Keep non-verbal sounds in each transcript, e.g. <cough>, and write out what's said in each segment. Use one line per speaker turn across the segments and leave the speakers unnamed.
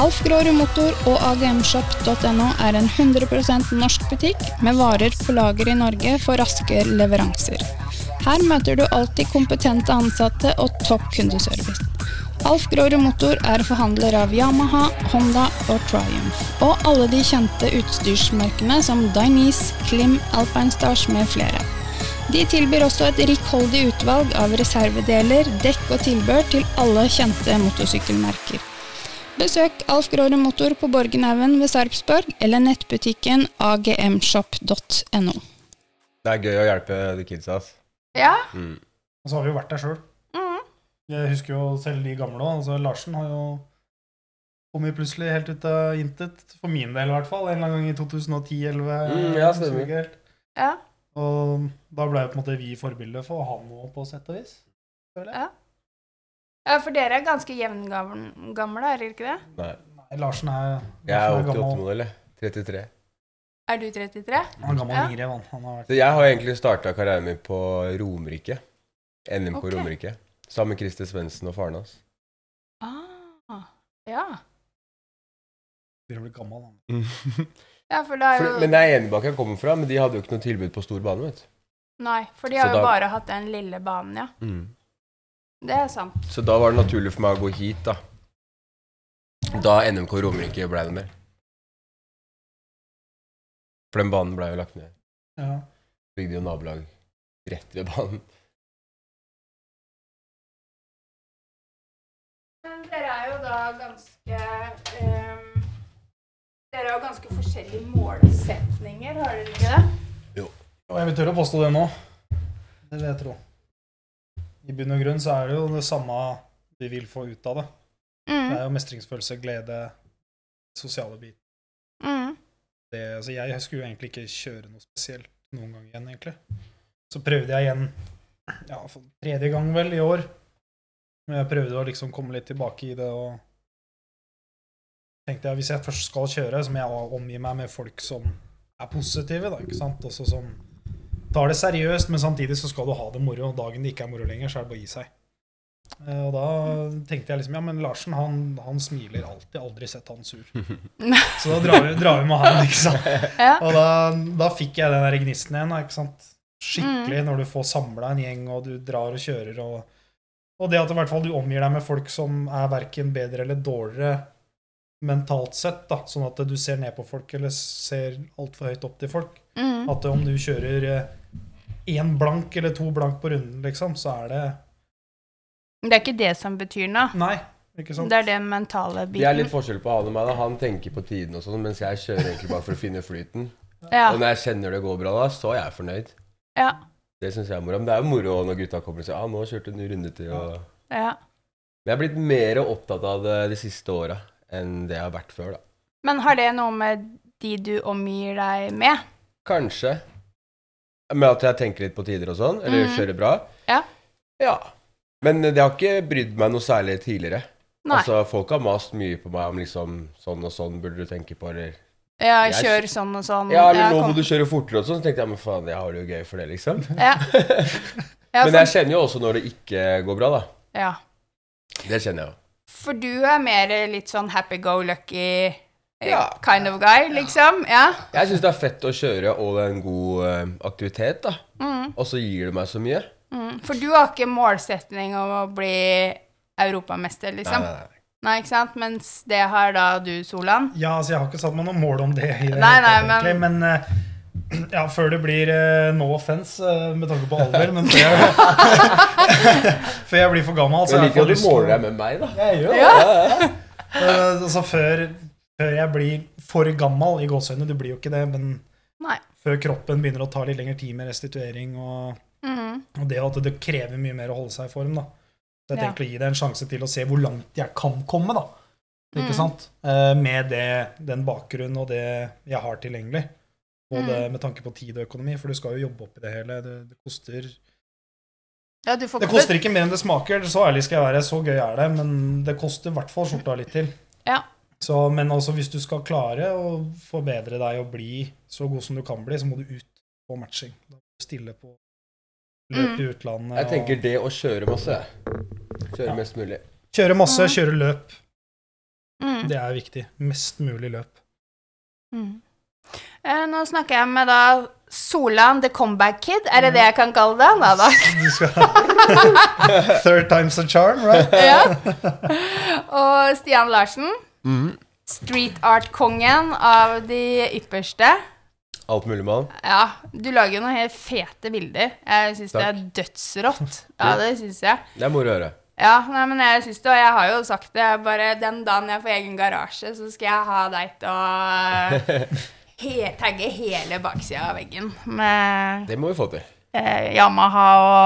Alf Grårud Motor og agmshop.no er en 100 norsk butikk med varer på lager i Norge for raske leveranser. Her møter du alltid kompetente ansatte og topp kundeservice. Alf Grårud Motor er forhandler av Yamaha, Honda og Triumph, og alle de kjente utstyrsmerkene som Dainese, Klim, Alpine Stars med flere. De tilbyr også et rikholdig utvalg av reservedeler, dekk og tilbør til alle kjente motorsykkelmerker. Besøk Alf Gråre Motor på Borgenhaugen ved Sarpsborg eller nettbutikken agmshop.no.
Det er gøy å hjelpe de kidsa. ass.
Ja,
Mm.
Og så har vi jo vært der sjøl.
Mhm.
Jeg husker jo selv de gamle òg. Altså, Larsen har jo kommet plutselig helt ut av intet. For min del, i hvert fall. En eller annen gang i 2010-2011.
Mm, ja, stemmer.
ja.
Og da ble jo på en måte vi forbildet for han òg, på sett og vis. Føler jeg.
Ja. Ja, for dere er ganske jevngamle, er dere ikke det?
Nei.
Nei, Larsen er,
Jeg er
Larsen
88-modell, jeg. 33.
Er du 33?
Han er gammel
Ja.
ringrev, han. han har vært.
Så jeg har egentlig starta karrieren min på Romerike. NM på
Ok.
Romerike. Sammen med Christer Svendsen og faren hans.
Ah, ja.
Begynner å bli gammel, han.
<laughs>
ja, for da er
For,
jo
men jeg er enig bak jeg kommer fra, men de hadde jo ikke noe tilbud på stor bane, vet du.
Nei, for de har
Så
jo
da-
bare hatt den lille banen, ja.
Mm.
Det er sant.
Så da var det naturlig for meg å gå hit, da. Da NMK Romerike blei det mer. For den banen blei jo lagt ned.
Ja.
Bygde jo nabolag rett ved banen.
Men dere er jo da ganske ehm, Dere har jo ganske forskjellige målsetninger, har dere ikke det?
Og jeg vil tørre å påstå det nå. Det vil jeg tro. I bunn og grunn så er det jo det samme vi vil få ut av det. Det er jo mestringsfølelse, glede, sosiale bit.
Mm.
det, altså jeg skulle jo egentlig ikke kjøre noe spesielt noen gang igjen, egentlig. Så prøvde jeg igjen, ja, for tredje gang vel, i år. Men jeg prøvde å liksom komme litt tilbake i det, og tenkte jeg, hvis jeg først skal kjøre, så må jeg omgi meg med folk som er positive, da, ikke sant? Også som tar det seriøst, men samtidig så skal du ha det moro, og dagen det ikke er moro lenger, så er det bare å gi seg. Eh, Og da tenkte jeg liksom, ja, men Larsen, han, han smiler alltid, aldri sett han sur. Så da drar vi, drar vi med han, ikke sant?
Ja.
Og da, da fikk jeg den der gnisten igjen, da, ikke sant? Skikkelig, når du får samla en gjeng, og du drar og kjører, og, og det at i hvert fall du omgir deg med folk som er verken bedre eller dårligere mentalt sett, da, sånn at du ser ned på folk, eller ser altfor høyt opp til folk.
Mm.
At om du kjører én blank eller to blank på runden, liksom, så er det
Det er ikke det som betyr noe.
Nei, ikke sant?
Det er den mentale
Sånn. Det er
biten.
litt forskjell på han og meg. da. Han tenker på tiden og sånn, mens jeg kjører egentlig bare for å finne flyten.
Ja.
Og når jeg kjenner det går bra da, så er jeg fornøyd.
ja.
Det syns jeg er moro. Men det er jo moro når gutta kommer og sier ah, 'nå kjørte du en ny runde til', og
ja.
Men jeg er blitt mer opptatt av det de siste åra enn det jeg har vært før, da.
Men har det noe med de du omgir deg med?
Kanskje. Med at jeg tenker litt på tider og sånn, eller
Mhm.
kjører bra.
Ja.
ja. Men det har ikke brydd meg noe særlig tidligere.
Nei.
Altså, folk har mast mye på meg om liksom sånn og sånn burde du tenke på, eller
Ja,
Jeg
kjør sånn og sånn.
Ja, eller nå
kom-
må du kjøre fortere og sånn. Så tenkte jeg men faen, jeg har det jo gøy for det, liksom. <laughs>
Ja. Ja,
Men
for,
jeg kjenner jo også når det ikke går bra, da.
ja.
Det kjenner jeg jo.
for du er mer litt sånn happy-go-lucky eh,
Ja.
kind of guy, liksom? Ja.
Jeg syns det er fett å kjøre og det er en god eh, aktivitet, da. Og så gir det meg så mye.
Mm. For du har ikke målsetning om å bli europamester, liksom?
Nei, nei, nei.
Nei, ikke sant? Mens det har da du, Solan.
Ja, altså jeg har ikke satt meg noe mål om det. I det hele
Nei, nei,
tatt, egentlig, men... eh, <clears throat> ja, før det blir eh, no offense eh, med tanke på alder, men før jeg, før jeg <laughs> blir for gammel så
Jeg
har
liker at
jeg
du
får
måler
lyst
deg med meg, da.
til- Jeg gjør det.
Ja.
Eh, altså før, før jeg blir for gammel i gåseøynene, du blir jo ikke det, men
Nei.
før kroppen begynner å ta litt lengre tid med restituering og,
Mm.
og det at det krever mye mer å holde seg i form, da. Så jeg
Ja.
tenkte å gi deg en sjanse til å se hvor langt jeg kan komme, da. Ikke
Mm.
sant? Eh, med det, den bakgrunnen og det jeg har tilgjengelig. Og det med tanke på tid og økonomi, for du skal jo jobbe opp i det hele. Det, det, koster,
Ja, du får
det koster ikke mer enn det smaker, så ærlig skal jeg være. Så gøy er det, men det koster i hvert fall skjorta litt til.
Ja.
Så, men altså, hvis du skal klare å forbedre deg og bli så god som du kan bli, så må du ut på matching. Da må du stille på løp
Mm.
i utlandet.
Jeg tenker
og
det å kjøre masse. jeg. Kjøre
Ja.
mest mulig.
Kjøre masse, kjøre løp.
Mm.
Det er viktig. Mest mulig løp.
Mm. Eh, Nå snakker jeg med da Solan the Comeback Kid.
Mm.
Er det det jeg kan kalle det? Nei da.
Du skal <laughs> Third time's a
<laughs>
charm, right?
Ja. <laughs> Og Stian Larsen. Mm. Street art-kongen av de ypperste.
Alt mulig med han.
Ja, du lager jo noen helt fete bilder. Jeg syns det er dødsrått. Ja, det syns jeg.
Det er moro å høre.
Ja, nei, men jeg syns det, og jeg har jo sagt det. jeg Bare den dagen jeg får egen garasje, så skal jeg ha deg til å <laughs> he tagge hele baksida av veggen med
Det må vi få til.
eh, Yamaha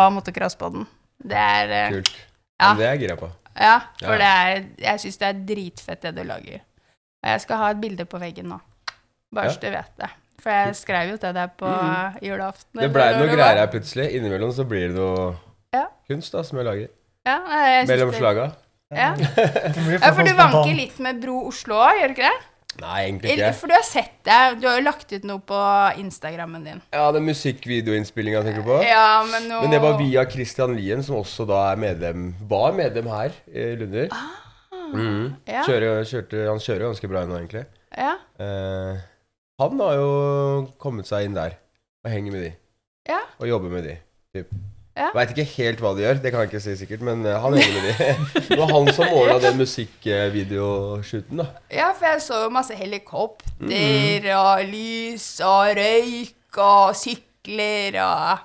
og motocrossboden. Det er eh,
Kult.
Ja.
Men Det er jeg gira på.
Ja, for
Ja.
det er Jeg syns det er dritfett, det du lager. Og jeg skal ha et bilde på veggen nå. Bare
Ja. Mm.
så du vet det. For jeg skrev jo til deg på eh, julaften.
Det
eller
blei
når
noe
det
greier
var.
her plutselig. Innimellom så blir det noe
Ja.
kunst da, som jeg lager.
Ja, nei, jeg syns
Mellom
det-
slaga.
Ja.
Det blir
ja, for
sånn
du
spontan.
vanker litt med Bro Oslo òg, gjør du ikke det?
Nei, egentlig
Eller,
ikke.
for du har sett det. Du har jo lagt ut noe på Instagrammen din.
Ja, den musikkvideoinnspillinga tenker du på?
Ja, men nå
Men det var via Christian Lien, som også da er medlem, var medlem her i Lunder. Mhm.
Ah. ja.
Kjører, kjørte, han kjører jo ganske bra nå, egentlig.
Ja.
Eh, han har jo kommet seg inn der og henger med de.
Ja.
Og jobber med de. Typ.
Ja.
Veit ikke helt hva de gjør, det kan jeg ikke si sikkert, men eh, han henger med de. <laughs> Det var han som ordna den musikkvideoshooten, da.
ja, for jeg så jo masse
Mhm.
helikopter og lys og røyk og sykler og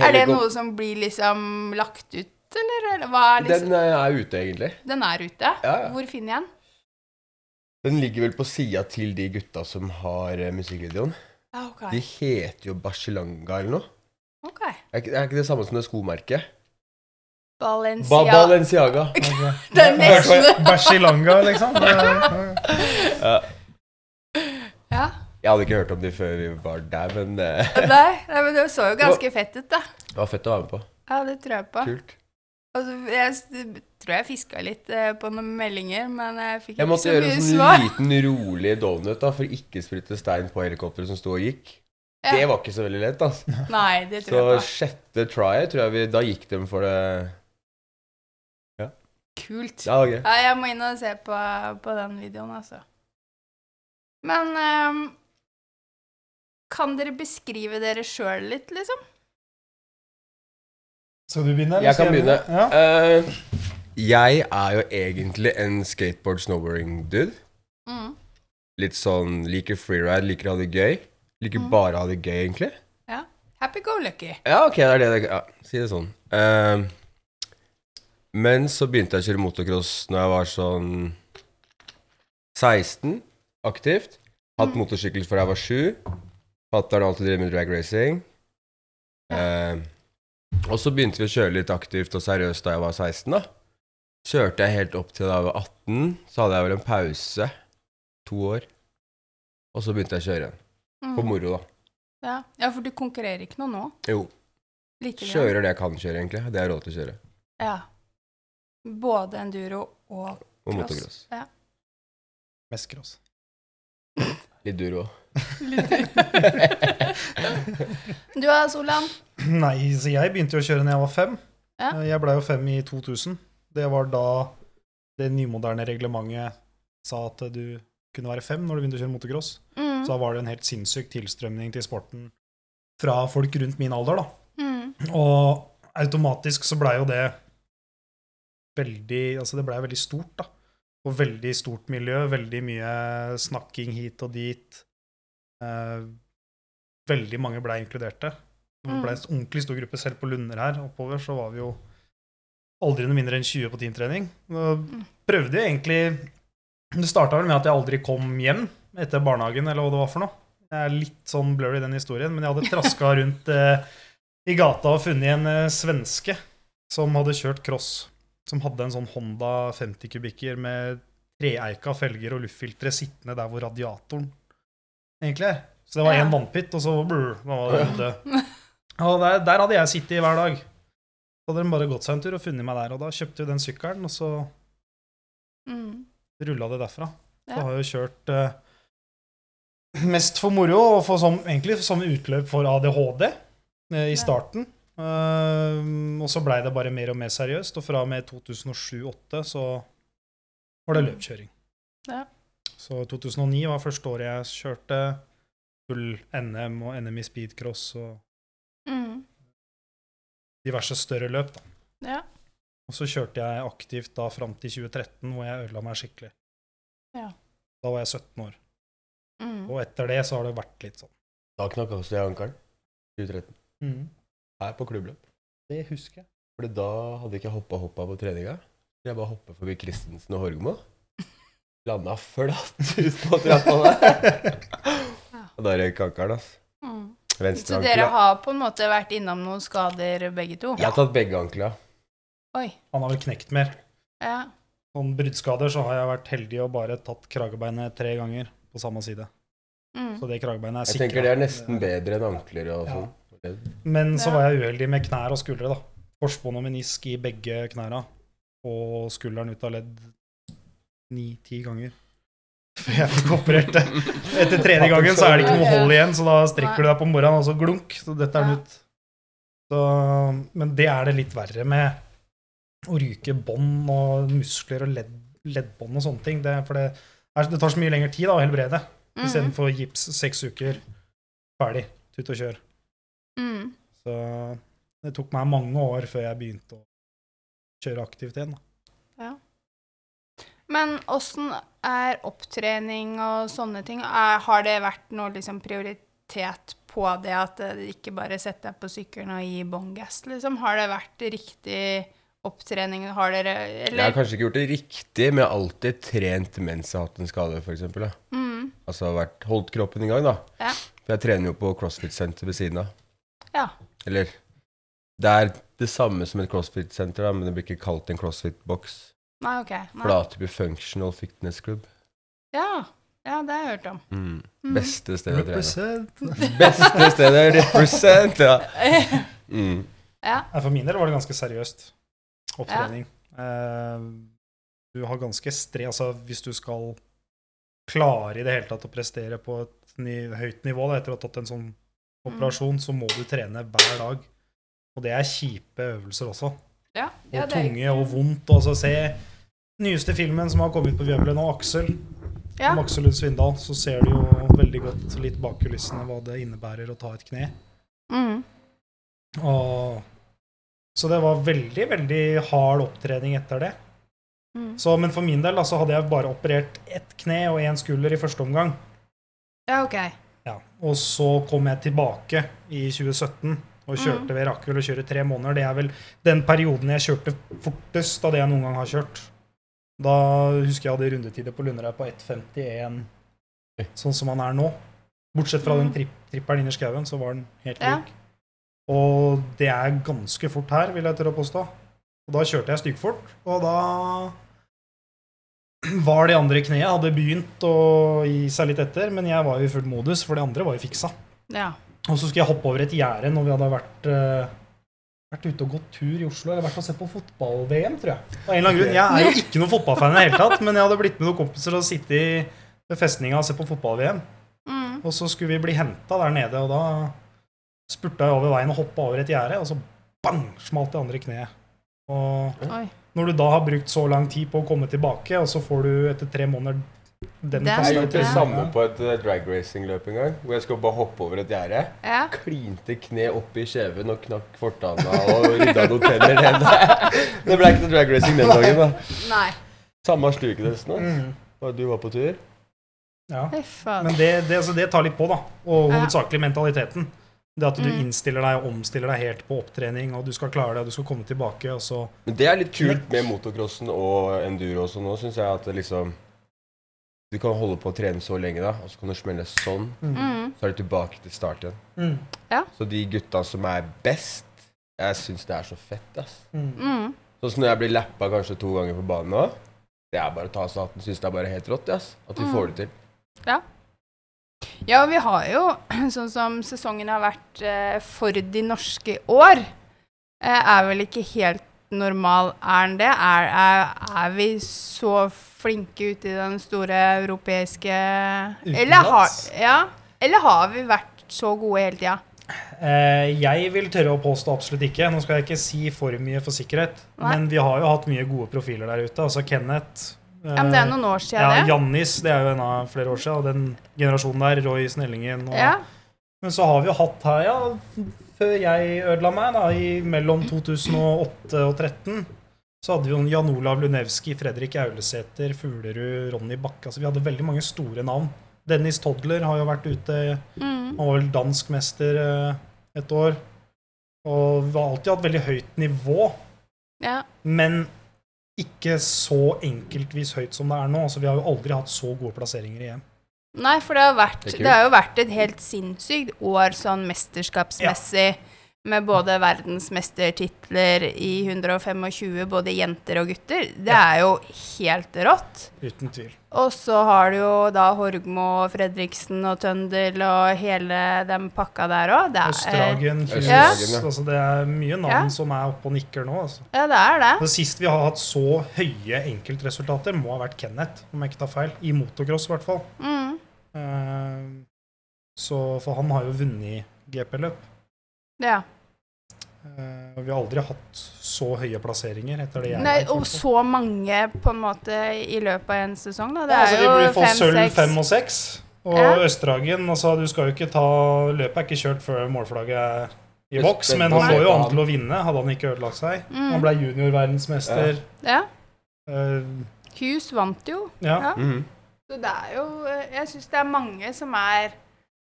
Er det
Helikop-
noe som blir liksom lagt ut, eller, eller hva er liksom
Den eh, er ute, egentlig.
Den, er ute?
Ja, ja.
Hvor finner jeg den?
Den ligger vel på sida til de gutta som har eh, musikkvideoen.
Ah, ok.
De heter jo Barcelanga eller noe.
ok.
Er ikke, er ikke det samme som det skomerket? Ba
Balencia.
Balenciaga.
<laughs> Det er
<laughs>
nesten
Bersilanga,
<laughs>
liksom.
Ja.
Jeg hadde ikke hørt om de før vi var der, men eh,
Nei, nei, men det så jo ganske fett ut, da.
det var fett å være med på.
Ja, det tror jeg på.
Kult.
Altså, jeg s- tror jeg fiska litt eh, på noen meldinger, men jeg fikk
Jeg
ikke
måtte
så
gjøre
mye
en sånn
svar.
liten, rolig donut da, for ikke sprute stein på helikopteret som sto og gikk.
Ja.
Det var ikke så veldig lett, altså.
Nei, det
Så
tror jeg på.
sjette tryet, tror jeg vi Da gikk de for det.
Kult.
Ja, ok.
Ja, jeg må inn og se på, på den videoen, altså. Men ehm, kan dere beskrive dere sjøl litt, liksom?
Skal du begynne? eller
Jeg
skal
kan begynne.
Ja.
Eh, jeg er jo egentlig en skateboard-snowboarding-dude.
Mm.
Litt sånn liker freeride, liker å ha det gøy. Liker
Mm.
bare å ha det gøy, egentlig.
Happy go lucky.
Ja, ok, det er det det ja, Si det sånn. Eh, men så begynte jeg å kjøre motocross når jeg var sånn 16, aktivt.
Mm.
Hatt motorsykkel fra jeg var 7. Fatter'n har alltid drevet med drag racing. Eh, og så begynte vi å kjøre litt aktivt og seriøst da jeg var 16, da. Kjørte jeg helt opp til da jeg var 18. Så hadde jeg vel en pause. To år. Og så begynte jeg å kjøre igjen. For
Mm.
moro, da.
Ja. ja, for du konkurrerer ikke noe nå?
Jo.
Lite grann.
Kjører det jeg kan kjøre, egentlig. Det er råd til å kjøre.
Ja. Både enduro og
Og
cross.
motocross.
Ja.
Mest cross.
Litt duro òg.
<laughs> Du da, Solan?
<clears throat> Nei, så jeg begynte jo å kjøre når jeg var fem. Eh,
Ja.
Jeg blei jo fem i 2000. Det var da det nymoderne reglementet sa at du kunne være fem når du begynte å kjøre motocross.
Mm.
Så da var det en helt sinnssyk tilstrømning til sporten fra folk rundt min alder, da.
Mm.
Og automatisk så blei jo det veldig Altså, det blei veldig stort, da. Og veldig stort miljø, veldig mye snakking hit og dit. Eh, veldig mange blei inkluderte. Det blei en ordentlig stor gruppe. Selv på Lunder her oppover så var vi jo aldri noe mindre enn 20 på teamtrening. Da prøvde jeg egentlig Det starta vel med at jeg aldri kom hjem etter barnehagen, eller hva det var for noe. Jeg er litt sånn blurry i den historien, men jeg hadde traska rundt eh, i gata og funnet en eh, svenske som hadde kjørt cross. Som hadde en sånn Honda 50 kubikker med treeika felger og luftfiltre sittende der hvor radiatoren egentlig er. Så det var
Ja.
én vannpytt, og så brr, da var det ute. Og der, der hadde jeg sittet hver dag. Så hadde de bare gått seg en tur og funnet meg der, og da kjøpte vi den sykkelen, og så
Mm.
rulla det derfra.
Ja.
Så har jeg jo kjørt eh, mest for moro, og for som, egentlig som utløp for ADHD eh, i
Ja.
starten. Eh, og så blei det bare mer og mer seriøst, og fra og med 2007-2008 så var det løpkjøring.
Mm. Ja.
Så 2009 var første året jeg kjørte full NM og NM i speedcross og
Mm.
diverse større løp. Da.
Ja.
Og så kjørte jeg aktivt da fram til 2013, hvor jeg ødela meg skikkelig.
Ja.
Da var jeg 17 år.
Mm.
Og etter det så har det vært litt sånn.
Da knakk også jeg ankelen. 2013. Her på klubbløp.
Det husker jeg.
For da hadde ikke jeg hoppa hoppa på treninga. Jeg bare hoppa forbi Christensen og Horgmo. Landa flatt ut på trappa der. Og da røyk ankelen, altså.
Mm.
Venstre
Så
ankel.
dere
ja.
har på en måte vært innom noen skader, begge to?
Jeg har tatt begge ankla.
Oi.
Han har vel knekt mer.
Ja.
Om bruddskader så har jeg vært heldig og bare tatt kragebeinet tre ganger på samme side.
Mm.
Så det kragebeinet er
Jeg
sikra.
tenker det er nesten bedre enn ankler og
Ja.
sånn. Det-
Men så
Ja.
var jeg uheldig med knær og skuldre, da. Korsbånd og menisk i begge knæra. Og skulderen ut av ledd ni-ti ganger. <laughs> Før jeg fikk operert det. Etter tredje gangen så er det ikke noe hold igjen, så da strikker du deg på morgenen, og så glunk, så dette er den ut. Så, men det er det litt verre med å ryke bånd og muskler og ledd, leddbånd og sånne ting. Det, er- for det, er, det tar så mye lengre tid da, å helbrede,
Mm.
istedenfor gips seks uker, ferdig, tut og kjør.
Mm.
Så det tok meg mange år før jeg begynte å kjøre aktivt igjen. Da.
Men åssen er opptrening og sånne ting? Er, har det vært noe liksom prioritet på det at eh, ikke bare sette deg på sykkelen og gi bånn gass, liksom? Har det vært riktig opptrening? Har dere
Jeg har
Eller
kanskje ikke gjort det riktig, men jeg har alltid trent mens jeg har hatt en skade, f.eks.
mm,
Altså vært, holdt kroppen i gang, da.
Ja.
For jeg trener jo på CrossFit-senter ved siden av.
Ja.
Eller Det er det samme som et CrossFit-senter, da, men det blir ikke kalt en CrossFit-boks.
Nei, OK.
For
Nei.
da type Functional Fitness Club.
Ja. ja, det har jeg hørt om.
Mm.
Mm.
Beste stedet å trene.
Represent.
Beste stedet å represent, ja. Mm.
Nei, For min del var det ganske seriøst. Opptrening. Eh, du har ganske stre... Altså, hvis du skal klare i det hele tatt å prestere på et ny, høyt nivå da, etter å ha tatt en sånn operasjon, så må du trene hver dag. Og det er kjipe øvelser også.
Ja,
Og
ja, det er-
tunge og vondt. Og så se nyeste filmen som har kommet på Vjøbelen nå, Aksel.
ja.
Om Aksel Lund Svindal, så ser du jo veldig godt litt bak kulissene hva det innebærer å ta et kne.
Mm.
Og, så det var veldig, veldig hard opptrening etter det.
Mm.
Så, men for min del da, så hadde jeg bare operert ett kne og én skulder i første omgang.
ja, OK.
Ja. Og så kom jeg tilbake i 2017 og kjørte
Mm.
ved Rakel og kjører tre måneder. Det er vel den perioden jeg kjørte fortest av det jeg noen gang har kjørt. Da husker jeg hadde rundetider på Lunderøy på 1,51, sånn som han er nå. Bortsett fra den
Mm.
tripp, tripperen inni skauen, så var den helt
Ja.
lik. Og det er ganske fort her, vil jeg tørre å påstå. Og da kjørte jeg styggfort, og da <clears throat> var de andre knea hadde begynt å gi seg litt etter, men jeg var jo i full modus, for de andre var jo fiksa.
Ja.
Og så skulle jeg hoppe over et gjerde når vi hadde vært, eh, vært ute og gått tur i Oslo, eller vært og sett på fotball-VM, tror jeg. Av en eller annen grunn, Jeg er jo ikke noen fotballfan i det hele tatt, men jeg hadde blitt med noen kompiser og sittet i- ved festninga og sett på fotball-VM.
Mm.
Og så skulle vi bli henta der nede, og da spurta jeg over veien og hoppa over et gjerde, og så bang! smalt det andre kneet. Og
Oi.
når du da har brukt så lang tid på å komme tilbake, og så får du etter tre måneder den
Det er
Jeg
sant,
gjorde det
ja.
samme på et eh, drag racing-løp en gang, hvor jeg skulle bare hoppe over et gjerde.
Ja.
Klinte kne opp i kjeven og knakk fortanna og rydda noen tenner ned. <laughs> Det ble ikke noe drag racing den dagen, da.
Nei.
Samme sluket nesten. da.
Mm,
Og du var på tur.
ja.
Fy faen.
Men det, det, altså, det tar litt på, da. Og
Ja.
hovedsakelig mentaliteten. Det at du
Mm.
innstiller deg og omstiller deg helt på opptrening, og du skal klare det, og du skal komme tilbake, og så
Men det er litt kult med motocrossen og enduro også nå, syns jeg, at det liksom Du kan holde på å trene så lenge, da, og så kan du smelle sånn,
Mm.
så er du tilbake til start igjen.
mm,
Så de gutta som er best, jeg syns det er så fett, ass.
mm.
Mm.
Sånn som når jeg blir lappa kanskje to ganger på banen nå. Det er bare å ta av seg hatten. Syns det er bare helt rått, ass. At vi
Mm.
får det til.
Ja, og vi har jo, <clears throat> sånn som sesongen har vært eh, for de norske i år, eh, er vel ikke helt normal, er den det? Er, er, er vi så flinke ute i den store europeiske Eller har,
Utenlands?
ja, eller har vi vært så gode hele tida?
Eh, jeg vil tørre å påstå absolutt ikke. Nå skal jeg ikke si for mye for sikkerhet,
Nei.
men vi har jo hatt mye gode profiler der ute. Altså Kenneth eh,
Ja, men det er noen år
ja,
siden, det.
Jannis, det er jo en av flere år siden, og den generasjonen der, Roy Snellingen og
Ja.
Men så har vi jo hatt her, ja, før jeg ødela meg, da, i mellom 2008 og 2013, så hadde vi jo en Jan Olav Lunevski, Fredrik Aulesæter, Fuglerud, Ronny Bakke altså Vi hadde veldig mange store navn. Dennis Todler har jo vært ute,
Mm.
han var vel dansk mester eh, et år. Og vi har alltid hatt veldig høyt nivå,
ja.
men ikke så enkeltvis høyt som det er nå. Så vi har jo aldri hatt så gode plasseringer igjen.
Nei, for det har, vært,
Det er
det,
kult.
har jo vært et helt sinnssykt år sånn mesterskapsmessig. Med både verdensmestertitler i 125, både jenter og gutter. Det
Ja.
er jo helt rått.
Uten tvil.
Og så har du jo da Horgmo og Fredriksen og Tøndel og hele den pakka der òg. Det, er-
Østerhagen, Kjus
eh, Ja.
altså Det er mye navn
Ja.
som er oppe og nikker nå. Altså.
ja, det er det.
Det sist vi har hatt så høye enkeltresultater, må ha vært Kenneth, om jeg ikke tar feil. I motocross, i hvert fall.
Mm,
Eh, Så, for han har jo vunnet GP-løp.
ja.
Eh, Og vi har aldri hatt så høye plasseringer etter det jeg
Nei,
vet, i
og
hvert fall.
så mange på en måte i løpet av en sesong, da. Det
Ja, altså,
er
vi blir
jo
fått sølv fem
fem-seks.
og seks. Og
Ja.
Østerhagen altså, du skal jo ikke ta, Løpet er ikke kjørt før målflagget er i
Det er
boks, men
spennende å
han
se
lå jo
på
an
han.
til å vinne, hadde han ikke ødelagt seg. Han
Mm,
ble juniorverdensmester.
ja.
eh,
Hus vant jo.
Ja.
Ja.
Mhm.
Så det er jo eh, Jeg syns det er mange som er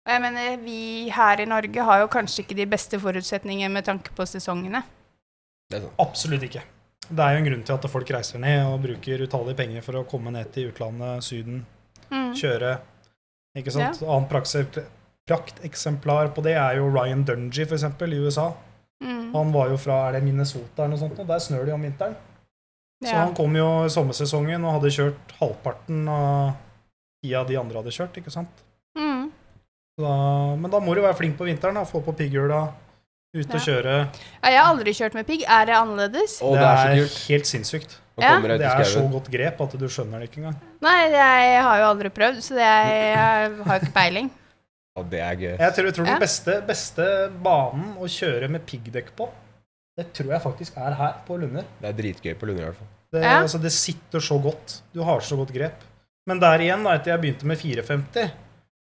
Og jeg mener, vi her i Norge har jo kanskje ikke de beste forutsetningene med tanke på sesongene.
Det er sånn. sant.
Absolutt ikke. Det er jo en grunn til at folk reiser ned og bruker utallige penger for å komme ned til utlandet, Syden,
Mm.
kjøre. Ikke sant? Annet prakse- prakteksemplar på det er jo Ryan Dungey, for eksempel, i USA.
Mm.
Han var jo fra er det Minnesota eller noe sånt, og der snør det jo om vinteren. Så
Ja.
han kom jo i sommersesongen og hadde kjørt halvparten av tida de andre hadde kjørt, ikke sant.
Mm.
Så Da, men da må du være flink på vinteren, da. Få på pigghjula, ut og
Ja.
kjøre.
Ja, jeg har aldri kjørt med pigg. Er det annerledes?
Å, det er så kult.
helt sinnssykt.
Nå
Ja.
kommer jeg ut
Det
i
er så
skauen.
godt grep at du skjønner det ikke engang.
Nei, jeg har jo aldri prøvd, så jeg, jeg har jo ikke peiling.
Ja, det er gøy.
Jeg tror, jeg tror
Ja.
den beste, beste banen å kjøre med piggdekk på, det tror jeg faktisk er her på Lunder.
Det er dritgøy på Lunder i hvert fall.
Det,
Ja.
altså, det sitter så godt. Du har så godt grep. Men der igjen, da, etter jeg begynte med 450
<laughs>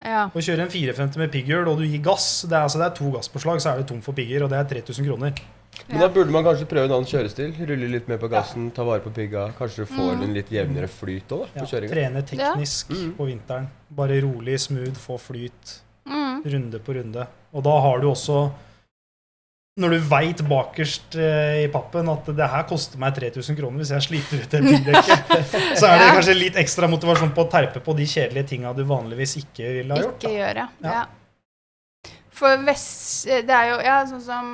Ja.
Å kjøre en 450 med pigghjul, og du gir gass det er, altså, det er to gasspåslag, så er du tom for pigger, og det er 3000 kroner.
Men da
Ja.
burde man kanskje prøve en annen kjørestil. Rulle litt mer på gassen, ta vare på pigga. Kanskje du
Mm.
får en litt jevnere flyt òg,
Ja,
på kjøringa.
trene teknisk
Mm.
på vinteren. Bare rolig, smooth, få flyt.
Mm.
runde på runde. Og da har du også Når du veit bakerst eh, i pappen at det her koster meg 3000 kroner hvis jeg sliter ut det
<laughs>
bildekket, så er det
Ja.
kanskje litt ekstra motivasjon på å terpe på de kjedelige tinga du vanligvis ikke ville ha gjort.
Ikke gjøre.
Ja.
Ja. For Vest... Det er jo Ja, sånn som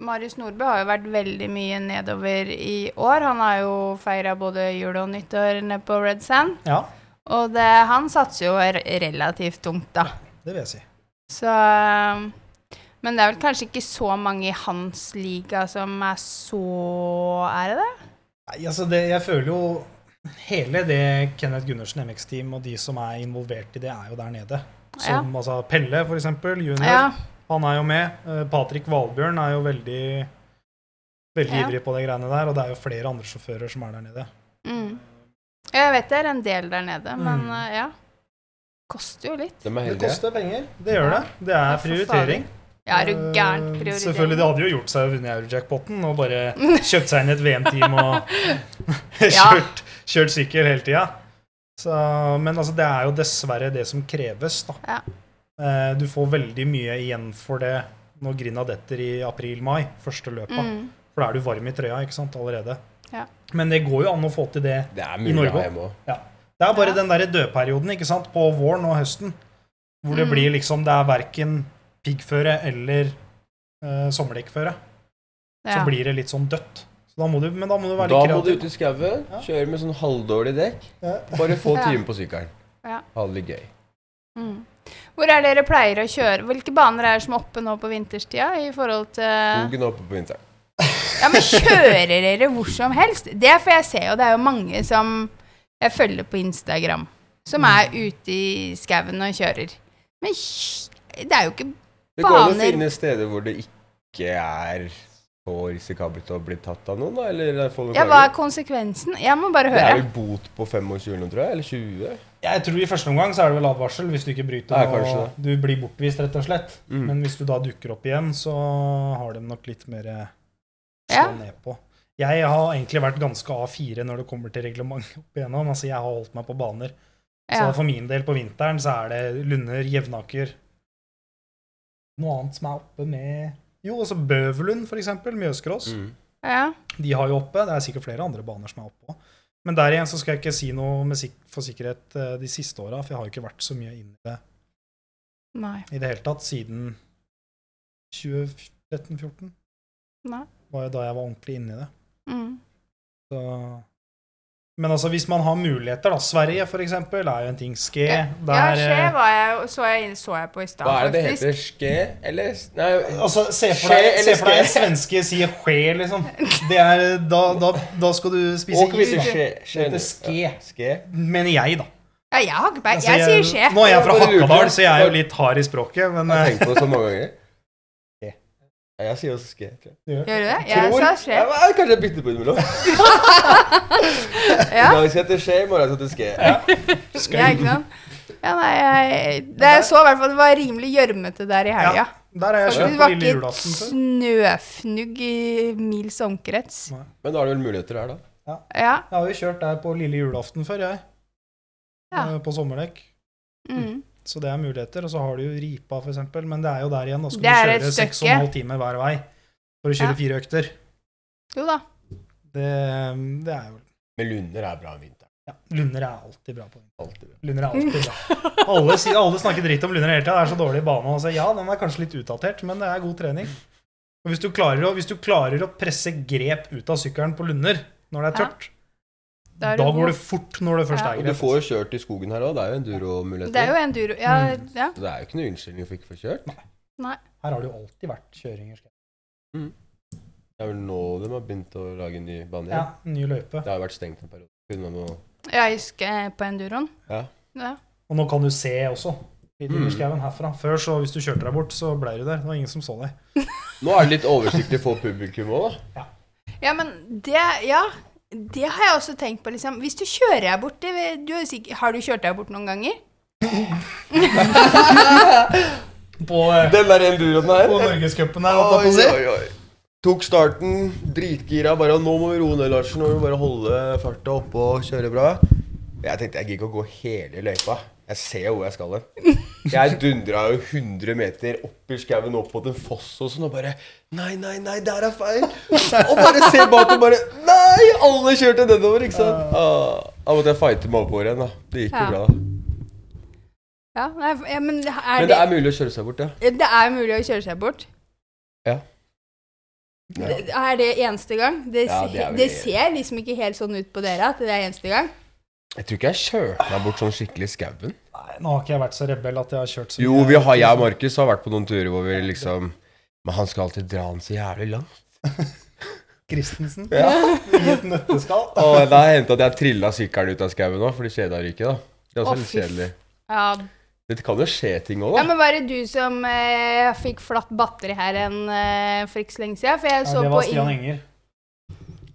Marius Nordbø har jo vært veldig mye nedover i år. Han har jo feira både jul og nyttår nede på Red Sand.
Da. Ja,
Og det, han satser jo re- relativt tungt, da.
det vil jeg si.
Så um, Men det er vel kanskje ikke så mange i hans liga som er så Er det det?
Nei, altså det, jeg føler jo Hele det Kenneth Gundersen MX-team og de som er involvert i det, er jo der nede.
ja.
Som altså Pelle, for eksempel, junior.
ja.
Han er jo med. Eh, Patrick Valbjørn er jo veldig Veldig
Ja.
ivrig på de greiene der, og det er jo flere andre sjåfører som er der nede.
Mm. Ja, Jeg vet det er en del der nede, men
Mm.
eh, ja. Koster jo litt.
De er
Det
heldige.
koster penger. Det gjør det. Det
Ja,
er
for
prioritering.
Ja, er du gæren
Eh,
prioritering?
Selvfølgelig, det hadde jo gjort seg å vunne Eurojackpotten og bare kjøpt seg inn i et VM-team og <laughs> kjørt, kjørt sykkel hele tida. Så, men altså, det er jo dessverre det som kreves, da.
Ja.
Eh, Du får veldig mye igjen for det når grinda detter i april-mai, første løpa.
Mm.
For da er du varm i trøya ikke sant, allerede.
Ja.
Men det går jo an å få til det.
Det er
I
mulig
Norge
å ha
også.
hjemme òg.
Det er bare
Ja.
den derre dødperioden ikke sant, på våren og høsten, hvor det
Mm.
blir liksom Det er verken piggføre eller eh, sommerdekkføre. Så
Ja.
blir det litt sånn dødt. Så da må du, men da må du være
Da
litt
må du
kreativ.
ut i skauen,
Ja.
kjøre med sånn halvdårlig dekk.
Ja.
Bare få
Ja.
timer på sykkelen.
Ja.
Ha det litt gøy.
Mm. Hvor er dere pleier å kjøre? Hvilke baner er det som er oppe nå på vinterstida i forhold
Oh.
til
Skogen er oppe på vinteren.
Ja, men kjører dere hvor som helst? Det er for jeg ser jo det er jo mange som jeg følger på Instagram,
Mm.
som er ute i skauen og kjører. Men kj- det er jo ikke
Det går an å
Baner.
finne steder hvor det ikke er så risikabelt å bli tatt av noen, da? Eller få noen
Ja, hva er
klager.
konsekvensen? Jeg må bare
Det er
høre.
vel bot på 25, nå, tror jeg? Eller 20?
Jeg tror i første omgang så er det vel advarsel hvis du ikke bryter.
Ja,
og
kanskje
du blir bortvist, rett og slett.
Mm.
Men hvis du da dukker opp igjen, så har de nok litt mer eh, slå
Ja.
ned på. Jeg har egentlig vært ganske A4 når det kommer til reglement opp igjennom. Altså, jeg har holdt meg på baner.
Ja.
Så for min del på vinteren så er det Lunder, Jevnaker Noe annet som er oppe med Jo, altså Bøverlund, for eksempel. Mjøskross.
Mm.
Ja.
De har jo oppe. Det er sikkert flere andre baner som er oppe òg. Men der igjen så skal jeg ikke si noe med sik for sikkerhet eh, de siste åra, for jeg har jo ikke vært så mye inn i det
Nei.
i det hele tatt siden 2013-2014.
Nei.
Var jo da jeg var ordentlig inne i det.
Mm.
Så. Men altså, hvis man har muligheter, da. Sverige, for eksempel, er jo en ting. Ske.
Ja, Ja,
Der,
skje
eh,
var jeg, så, jeg, så jeg på i stad,
Hva er det det
faktisk.
heter? Ske? Eller s- Nei,
Altså, se for
Skje
deg, se
eller
for deg en
ske?
svenske sier skje, liksom. Det er, da, da, da skal du spise
og
is,
kvinner
da.
skje. skje
Det heter
nå.
ske.
Ja, ske.
Mener jeg, da.
Ja, jeg har ikke peiling.
Altså,
Jeg sier skje.
Nå er jeg fra
Bare lurer.
Hakadal, så jeg er jo litt hard i språket, men
Jeg har
eh,
tenkt på det så mange ganger. Ske. Ja, jeg sier også ske. Tror jeg.
Gjør du det? Jeg
Tror-
sa skje.
Ja, men kanskje jeg bytter på innimellom. I
Ja,
dag skal jeg til skje, i morgen skal jeg til ske.
ja ikke sant? Ja, nei, jeg, det jeg så i hvert fall det var rimelig gjørmete der i helga.
<laughs> der er jeg
Det
kjøpt på
var
lille
ikke
julaften. så.
snøfnugg i mils omkrets.
Men da er det vel muligheter her, da.
Ja.
Jeg har jo kjørt der på lille julaften før, jeg.
Ja.
Eh, På sommerdekk.
Mm.
Så det er muligheter. Og så har du jo Ripa, for eksempel. Men det er jo der igjen. Da skal
Det er et
du kjøre seks og
stykke.
en halv time hver vei for å kjøre
Ja.
fire økter.
Jo da.
Det, mm, det er jo
Men lunder er bra om vinteren.
ja, Lunder er alltid bra på
Alltid bra.
Lunder er alltid bra. <laughs> Alle, sier, alle snakker dritt om Lunder hele tida. Det er så dårlig bane. Altså, ja, den er kanskje litt utdatert, men det er god trening. Og hvis du klarer å, hvis du klarer å presse grep ut av sykkelen på Lunder når det er
Ja.
tørt,
Da er
da
du god.
går det fort når det først
Ja.
er
Og du
grep.
får jo kjørt i skogen her òg, det er jo enduro-muligheter.
Det er jo enduro. Ja,
Mm.
ja.
Så det er jo ikke noe unnskyldning for ikke å få kjørt.
Her har det jo alltid vært kjøringer.
Det er vel nå de har begynt å lage en ny bane.
Ja,
igjen.
ny løype.
Det har jo vært stengt en periode. Kunne man jo-
Jeg husker eh, på enduroen.
Ja.
Ja.
Og nå kan du se også. Litt
Mm.
under skauen herfra. Før, så hvis du kjørte deg bort, så ble du der. Det var ingen som så deg.
Nå er det litt oversiktlig for publikum òg, da.
Ja, men det Ja, det har jeg også tenkt på, liksom. Hvis du kjører deg bort det, du er sikker, Har du kjørt deg bort noen ganger?
På, eh,
Den der enduroen her.
Norgescupen
Oi, oi, oi. Tok starten, dritgira. Bare nå må vi roe ned, Larsen. Nå må vi bare holde farta oppe og kjøre bra. Jeg tenkte jeg gidder ikke å gå hele løypa. Jeg ser jo hvor jeg skal hen. <laughs> Jeg dundra jo 100 meter opp i skauen, opp mot en foss og sånn, og bare Nei, nei, nei, der er feil. Og bare se bak og bare Nei! Alle kjørte nedover, ikke sant? Ah, Da måtte jeg fighte med oppover igjen, da. Det gikk jo
Ja.
bra. da.
Ja, nei, ja men er
Men det er mulig å kjøre seg bort, ja.
Det er mulig å kjøre seg bort.
Ja.
Det- Er det eneste gang? Det,
Ja,
se-
det er vel
det
det.
ser liksom ikke helt sånn ut på dere at det er eneste gang.
Jeg tror ikke jeg kjørte meg bort sånn skikkelig i skauen.
Nei, nå har ikke jeg vært så rebell at jeg har kjørt så
Jo, vi har,
liksom.
jeg og Markus har vært på noen turer hvor vi liksom Men han skal alltid dra den så jævlig langt.
Christensen
Ja.
i et nøtteskall.
Og da hendte at jeg trilla sykkelen ut av skauen òg, fordi kjeda ryker, da. Det er også
Å,
litt
fy f-
kjedelig.
Ja,
Det kan jo skje ting òg,
Ja,
da.
men var det du som eh, fikk flatt batteri her en, eh, for ikke så lenge siden? For jeg
Ja,
så,
det
på,
var Stian
in
Enger.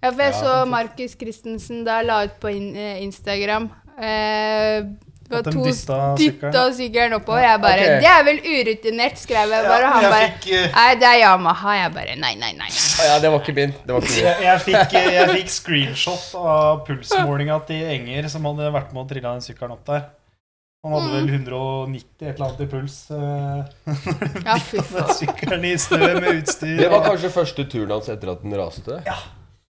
ja, for jeg
Ja.
så Markus Christensen da la ut på in eh, Instagram. Eh, det var
At de
to
dytta
dytta
sykkelen.
sykkelen oppover. Jeg bare
Ok.
'Det er vel urutinert', skrev jeg bare. Og han bare
fikk, eh,
'Nei, det er Yamaha'. Jeg bare 'Nei, nei, nei'. nei.
Ja, det var ikke min. Det var ikke min.
jeg, jeg,
<laughs>
fikk, eh, jeg fikk screenshot av pulsmålinga til Enger, som hadde vært med og trilla den sykkelen opp der. Han hadde
Mm.
vel 190 et eller annet i puls. <laughs> eh,
Ja, fy faen.
Den sykkelen i snø med utstyr.
Det var kanskje første turen hans etter at den raste.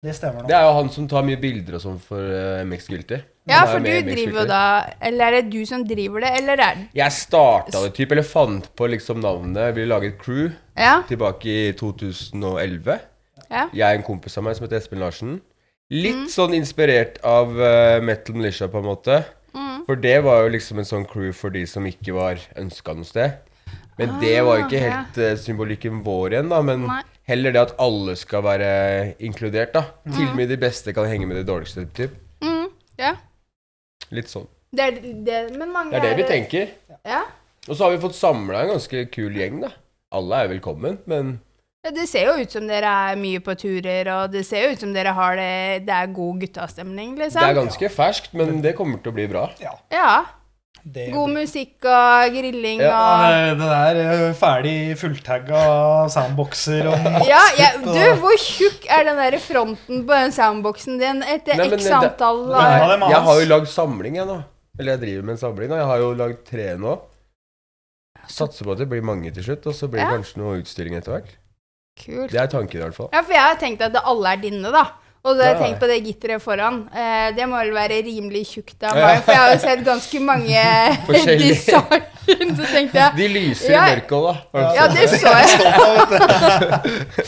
Det stemmer
Det
nok.
er jo han som tar mye bilder og sånn for eh, MX Guilty.
Ja,
Han er
for
jo med i
du
MX
driver jo
Guilty.
da Eller er det du som driver det, eller er det
Jeg starta det typ, eller fant på liksom navnet. Vi laget crew
Ja?
tilbake i 2011.
Ja.
Jeg og en kompis av meg som heter Espen Larsen. Litt sånn inspirert av eh, Metal Militia, på en måte.
mm,
For det var jo liksom en sånn crew for de som ikke var ønska noe sted. Men det var jo ikke
Ah,
helt eh, symbolikken vår igjen, da. Men
Nei.
heller det at alle skal være inkludert, da. Til og med de beste kan henge med de dårligste. Typ.
Mm, ja.
Litt sånn.
Det er det, men mange
Det er det vi tenker.
Ja.
Og så har vi fått samla en ganske kul gjeng, da. Alle er velkommen, men
Ja, Det ser jo ut som dere er mye på turer, og det ser jo ut som dere har det Det er god guttastemning,
det er
liksom.
ganske ferskt. Men det kommer til å bli bra.
Ja,
Ja.
det,
God musikk og grilling
Ja,
og
Eh, det der eh, ferdig fulltagga soundboxer
<laughs>
og
ja, jeg, du, hvor tjukk er den der fronten på den soundboxen din etter
Nei, men
x
det-
antall
Nei,
av-
det må
Jeg
hans.
har jo lagd samling, jeg nå. Eller jeg driver med en samling nå. Jeg har jo lagd tre nå. Satser på at det blir mange til slutt, og så blir det
Ja.
kanskje noe utstilling etter hvert.
Kult.
Det er tanken i hvert fall.
Ja, for jeg har tenkt at det alle er dine, da. Og da har jeg
Ja.
tenkt på det gitteret foran. Eh, det må vel være rimelig
<laughs>
tjukt av
Ja.
meg, for jeg har jo sett ganske mange
Forskjellige.
<laughs> design. Så tenkte jeg
De lyser i
Ja.
mørket òg, da.
Ja, det så jeg.
Stopp, da, vet du.
<laughs>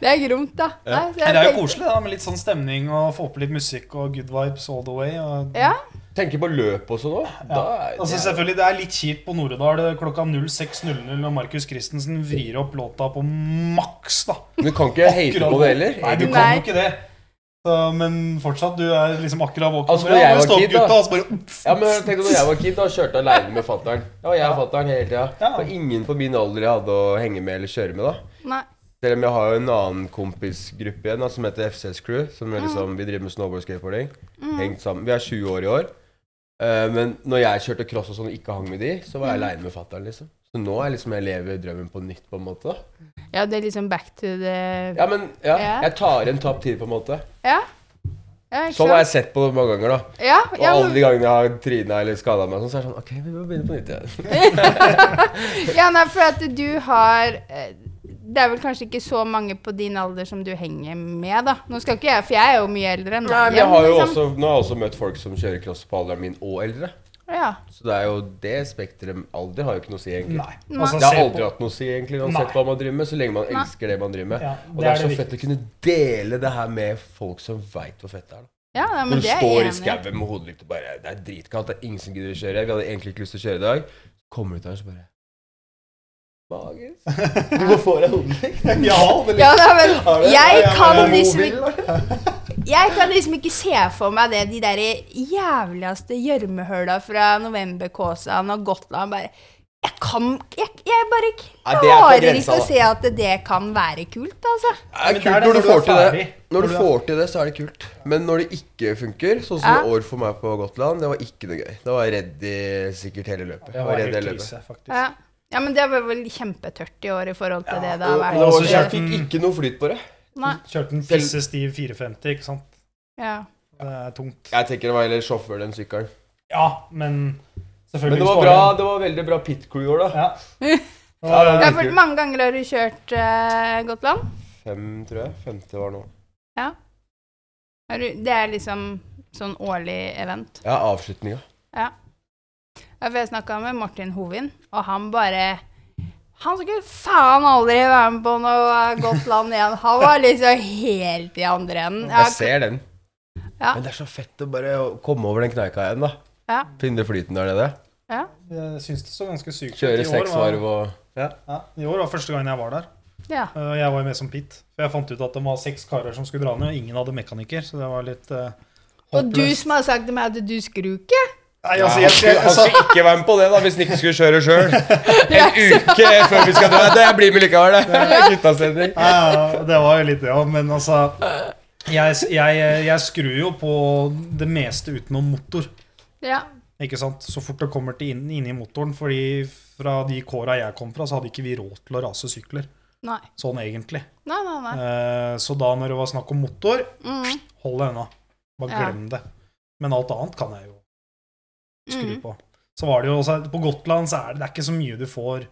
Det er gromt, da. Nei, så
Men
jeg
Det er jo
tenkte-
koselig da, med litt sånn stemning og få på litt musikk og good vibes all the way. Og
Ja.
Tenker på løp sånn også nå. Da
Ja.
er
Altså selvfølgelig, Det er litt kjipt på Noredal klokka 06.00 når Markus Christensen vrir opp låta på maks. da.
Du kan ikke hate
Akkurat
på det heller.
Nei, du
egentlig.
kan
Nei.
jo ikke det. Så, men fortsatt, du er liksom akkurat våken.
Altså,
Bare,
når jeg
ja,
var
stopp,
kid, da.
gutta, og så bare-
Ja, men tenk når jeg var kid, da kjørte jeg aleine med fatter'n. Ja, jeg og fatter'n hele tida.
Ja.
Og ingen på min alder jeg hadde å henge med eller kjøre med, da.
Nei.
Selv om jeg har jo en annen kompisgruppe igjen da, som heter FCS Crew. Som er liksom, Vi driver med snowboard og skateboarding.
Mm.
Hengt sammen. Vi er 20 år i år. Eh, men når jeg kjørte cross og sånn og ikke hang med de, så
Mm.
var jeg aleine med fatter'n, liksom. Så nå er liksom jeg lever drømmen på nytt, på en måte. da.
ja, det er liksom back to the
Ja, men ja,
Ja.
jeg tar igjen tapt tid, på en måte.
Ja. ja ikke
Sånn har jeg
sant?
sett på det mange ganger, da.
Ja,
Og
ja,
alle
men,
de gangene jeg har trina eller skada meg, sånn, så er det sånn OK, vi må begynne på nytt igjen.
ja, nei, for at du har eh, Det er vel kanskje ikke så mange på din alder som du henger med, da. Nå skal ikke jeg, for jeg er jo mye eldre enn
Nei, men
deg,
jeg har jo
liksom.
også, nå har jeg også møtt folk som kjører cross på alderen min og eldre.
Ja.
Så det er jo det spekteret Alder har jo ikke noe å si, egentlig.
Nei. Altså,
Det har
se
aldri
på-
hatt noe å si, egentlig, uansett
Nei.
hva man driver med, så lenge man elsker det man driver med.
Ja,
og det er, så fett å kunne dele det her med folk som veit hvor fett det er. da.
ja nei, men
Når du
det er
står i
jeg enig i.
skauen med hodelykt og bare Det er dritkaldt, det er ingen som gidder å kjøre. Vi hadde egentlig ikke lyst til å kjøre i dag. Kommer du ut her, så bare Magisk. Du må få deg
<laughs>
hodelykt.
Ja, det
Ja, nei,
Har
men
du-
jeg
Ja, ja,
kan
men-
liksom ikke Jeg kan liksom ikke se for meg det, de der jævligste gjørmehøla fra Novemberkåsan og Gotland. bare... Jeg kan Jeg, jeg bare
Ja, det er på
klarer
grensa,
ikke å
da.
se at det kan være kult, altså.
Det er
Men det er
kult
det
når du
når du
får
er
til det.
ferdig.
Når du
Når du er-
får til det, så er det kult. Men når det ikke funker, sånn som
Ja.
i år for meg på Gotland, det var ikke noe gøy. Da var jeg redd i sikkert hele løpet. Jeg var redd hele løpet.
krise, faktisk.
Ja. ja, men det var vel kjempetørt i år i forhold til det det
Og,
har
og
vært.
det var
så
så jeg
kjørte
fikk
den-
ikke noe flyt på det.
Nei.
Kjørte en fissestiv 450, ikke sant.
Ja.
Det er tungt.
Jeg tenker det var heller sjåføren enn sykkelen.
Ja, men selvfølgelig
Men det var
sparer-
bra, det var veldig bra pit crew i år, da.
Ja.
Ja, det var
ja,
veldig
for
kult.
mange ganger har du kjørt eh, Gotland.
Fem, tror jeg. Femte var nå.
Har du- Det er liksom sånn årlig event.
Ja, avslutninga.
Ja, for jeg snakka med Martin Hovin, og han bare Han skulle faen aldri være med på noe Gotland igjen. Han var liksom helt i andre enden.
Jeg ser den.
Ja.
Men det er så fett å bare komme over den kneika igjen, da.
Ja.
Finne flyten der nede.
Jeg syns det så ganske sykt ut. I
Kjøre
år
seksvarv
var-
og
Ja, I år var første gangen jeg var der.
ja.
Eh, Jeg var jo med som pit. For jeg fant ut at det var seks karer som skulle dra ned, og ingen hadde mekaniker. Så det var litt eh,
Og du
håpløst.
som har sagt til meg at du skrur ikke?
Nei,
Ja,
altså,
han,
jeg,
skulle,
jeg,
han
altså,
skulle ikke være med på det da hvis han ikke skulle kjøre
<laughs>
sjøl. En uke før vi skal dra. Det blir med likevel, det. Guttastemning.
ja, ja, det var jo litt det ja, òg, men altså jeg, jeg, eh, jeg skrur jo på det meste utenom motor.
Ja.
Ikke sant? Så fort det kommer til inn, inni motoren. fordi fra de kåra jeg kom fra, så hadde ikke vi råd til å rase sykler.
Nei.
Sånn egentlig.
Nei, nei, nei.
Eh, så da når det var snakk om motor,
Mm.
hold deg unna. Bare
Ja.
glem det. Men alt annet kan jeg jo skru
Mm.
på. Så var det jo også, På Gotland så er det, det er ikke så mye du får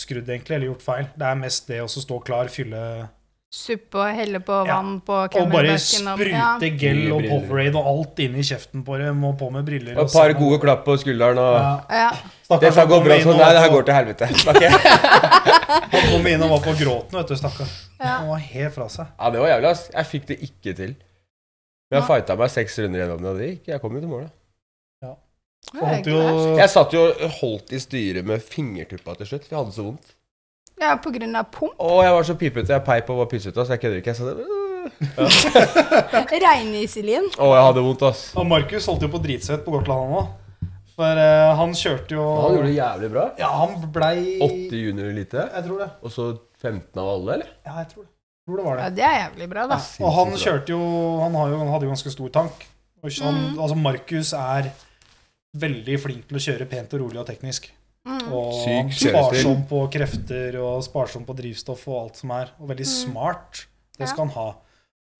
skrudd, egentlig, eller gjort feil. Det er mest det å så stå klar, fylle
Suppe og helle på
Ja.
vann på
Og bare
kremmerbakken.
sprute gel og
Nye briller.
Powerade og alt inn i kjeften på dem, og på med briller.
Og et par gode klapp på skulderen og
Ja.
Ja.
Stakkars,
Dette
han
går
kom
bra.
inn
Så
og
nei,
var
det her
på-
går til helvete. Ok.
Han kom inn
<laughs>
og var på gråten, vet du, stakkar.
Ja.
Han var helt fra seg.
Ja, det var jævlig, ass. Jeg fikk det ikke til. Men jeg
Nei.
fighta meg seks runder gjennom det, og det gikk. Jeg kom jo til målet.
Det
Og
er
holdt
ikke
jo
verst.
Jeg satt jo og holdt i styret med fingertuppa til slutt, for jeg hadde så vondt.
Ja, på grunn av pump.
Å, jeg var så pipete. Jeg peip og var pysete, så jeg kødder ikke. Jeg sa det. øh.
Regniselin.
Å, jeg hadde vondt, ass.
Og Markus holdt jo på dritsvett på Gotland, han òg. For eh, han kjørte jo
Han gjorde det jævlig bra.
Ja, han blei
80 junior-elite,
Jeg tror det.
og så 15 av alle, eller?
Ja, jeg tror det. Jeg tror det var det.
Ja, det er jævlig bra, da.
Og han kjørte jo Han, har jo, han hadde jo ganske stor tank. Og ikke- han,
Mm.
Altså, Markus er veldig flink til å kjøre pent og rolig og teknisk.
Mm.
Og
Syk
han
kjørestil.
sparsom på krefter og sparsom på drivstoff og alt som er. Og veldig
Mm.
smart. Det skal han ha.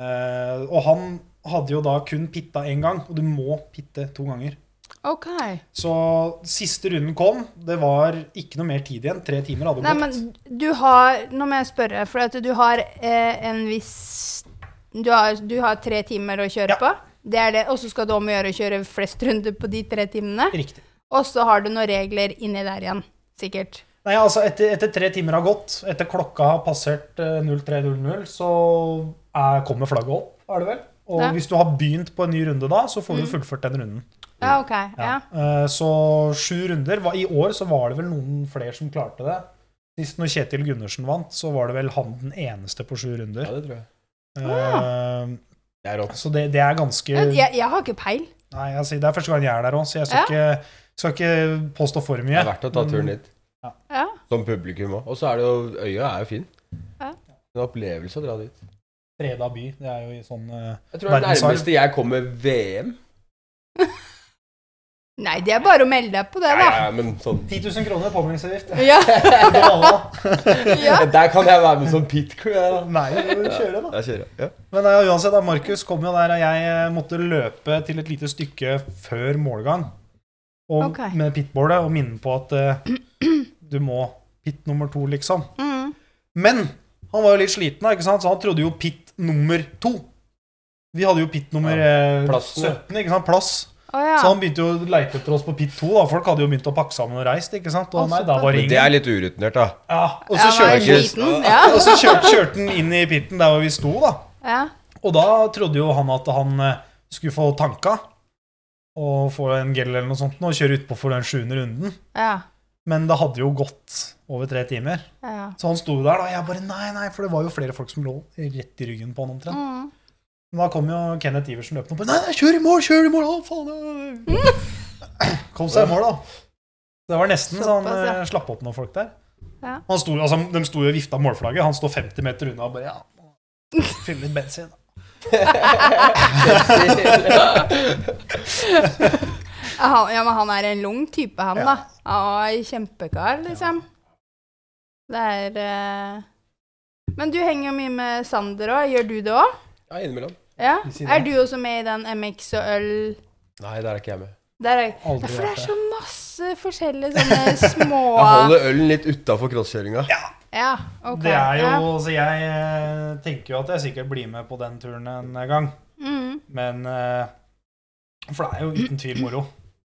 Eh, og han hadde jo da kun pitta én gang, og du må pitte to ganger.
Ok.
Så siste runden kom. Det var ikke noe mer tid igjen. Tre timer hadde
Nei,
gått.
men du har Nå må jeg spørre, for at du har eh, en viss du har, du har tre timer å kjøre
Ja.
på. Det er det. Og så skal du om å gjøre å kjøre flest runder på de tre timene.
Riktig.
Og så har du noen regler inni der igjen, sikkert.
Nei, altså etter, etter tre timer har gått, etter klokka har passert eh, 03.00, så er, kommer flagget opp, er det vel? Og
Ja.
hvis du har begynt på en ny runde da, så får du fullført den runden.
Mm. Ja, OK. Ja.
Eh, Så sju runder. Hva- I år så var det vel noen flere som klarte det. Sist når Kjetil Gundersen vant, så var det vel han den eneste på sju
Ja,
runder.
det tror jeg.
Eh,
Det er rått.
Så det, det er ganske
Men Jeg, jeg har ikke peil.
Nei, altså, det er første gang jeg er der òg, så jeg skal, ikke, skal ikke påstå for mye.
Det er verdt å ta turen dit.
Ja.
Som publikum òg. Og så er det jo Øya er jo fin.
Ja.
En opplevelse å dra dit.
Freda by. Det er jo i sånn eh,
Jeg tror det er det
Verdensarv.
nærmeste jeg kommer VM.
Nei, det er bare å melde deg på det,
Ja,
da.
ja, ja, men sånn
10 000 <laughs> kroner påmeldingsavgift.
Ja. ja.
<laughs> Der kan jeg være med som pit crew. jeg, da.
Nei, vi må jo kjøre, da.
Jeg kjører, ja.
Men eh, uansett, da, Markus kom jo der, og jeg eh, måtte løpe til et lite stykke før målgang og,
Ok.
med pitbålet og minne på at eh, du må pit nummer to, liksom.
Mm.
Men han var jo litt sliten, da, ikke sant? så han trodde jo pit nummer to. Vi hadde jo pit nummer eh,
Plassen, ja.
17, ikke sant? plass.
Å <laughs> ja.
Så han begynte jo å leite etter oss på pit to. Da. Folk hadde jo begynt å pakke sammen og reist. ikke sant? Og
Å,
nei, da var det
Men det
ingen.
er litt urutinert, da.
Ja, og
Ja,
så
han er
kjørte
sliten. Ja.
<laughs> og så kjørte, kjørte han inn i pitten der hvor vi sto, da.
ja.
Og da trodde jo han at han eh, skulle få tanka og få en gel eller noe sånt nå, og kjøre utpå for den sjuende runden.
Ja.
Men det hadde jo gått over tre timer.
ja.
Så han sto der, da, og jeg bare nei, nei, for det var jo flere folk som lå rett i ryggen på han omtrent.
Mm.
Men da kom jo Kenneth Iversen løpende opp. Nei, nei, kjør i mål, kjør i mål! Å, faen! ja, ja, ja». Kom seg i mål, da. Det var nesten så han
Mm. Såpass, ja.
eh, slapp opp noen folk der.
Ja.
Han sto, altså, de sto jo og vifta målflagget. Han står 50 meter unna og bare ja,
<laughs>
fyll litt bensin.
Ja, Han, ja, men han er en lung type, han,
Ja.
da. Ja, kjempekar, liksom. Det er eh, Men du henger jo mye med Sander òg. Gjør du det òg?
Ja, innimellom.
Ja.
Vi sier det.
Er du også med i den MX og øl
Nei, der er ikke jeg med.
Der er ja,
Aldri
For det
vært
er
der.
så masse forskjellige
<laughs>
sånne små
Jeg holder ølen litt utafor crosskjøringa.
Ja, ok.
Det er
ja.
jo, så Jeg eh, tenker jo at jeg sikkert blir med på den turen en gang.
Mm,
Men eh, For det er jo uten tvil moro.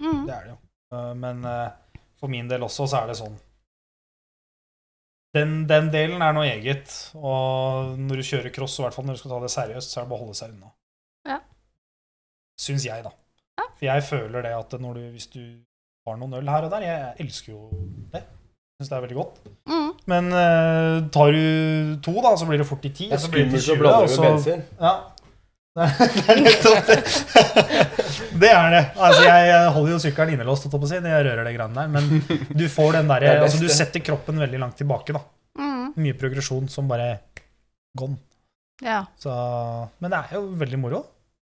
mm.
Det er det jo. Eh, Men eh, for min del også så er det sånn. Den, den delen er noe eget. Og når du kjører cross, og i hvert fall når du skal ta det seriøst, så er det bare å holde seg unna.
Ja.
Syns jeg, da.
Ja.
For jeg føler det at når du, hvis du har noen øl her og der Jeg elsker jo det. Syns det er veldig godt.
Mm.
Men eh, tar du to, da, så blir det fort i ti. og så blir det til 20, og så- Ja. <laughs> Det er nettopp det. Det <laughs> er det. Altså, jeg holder jo sykkelen innelåst, holdt jeg på å si, når jeg rører det greiene der, men du får den
<laughs> Det
derre
er best,
altså, Du
det.
setter kroppen veldig langt tilbake, da.
Mm,
Mye progresjon som bare gone.
ja.
Så, men det er jo veldig moro,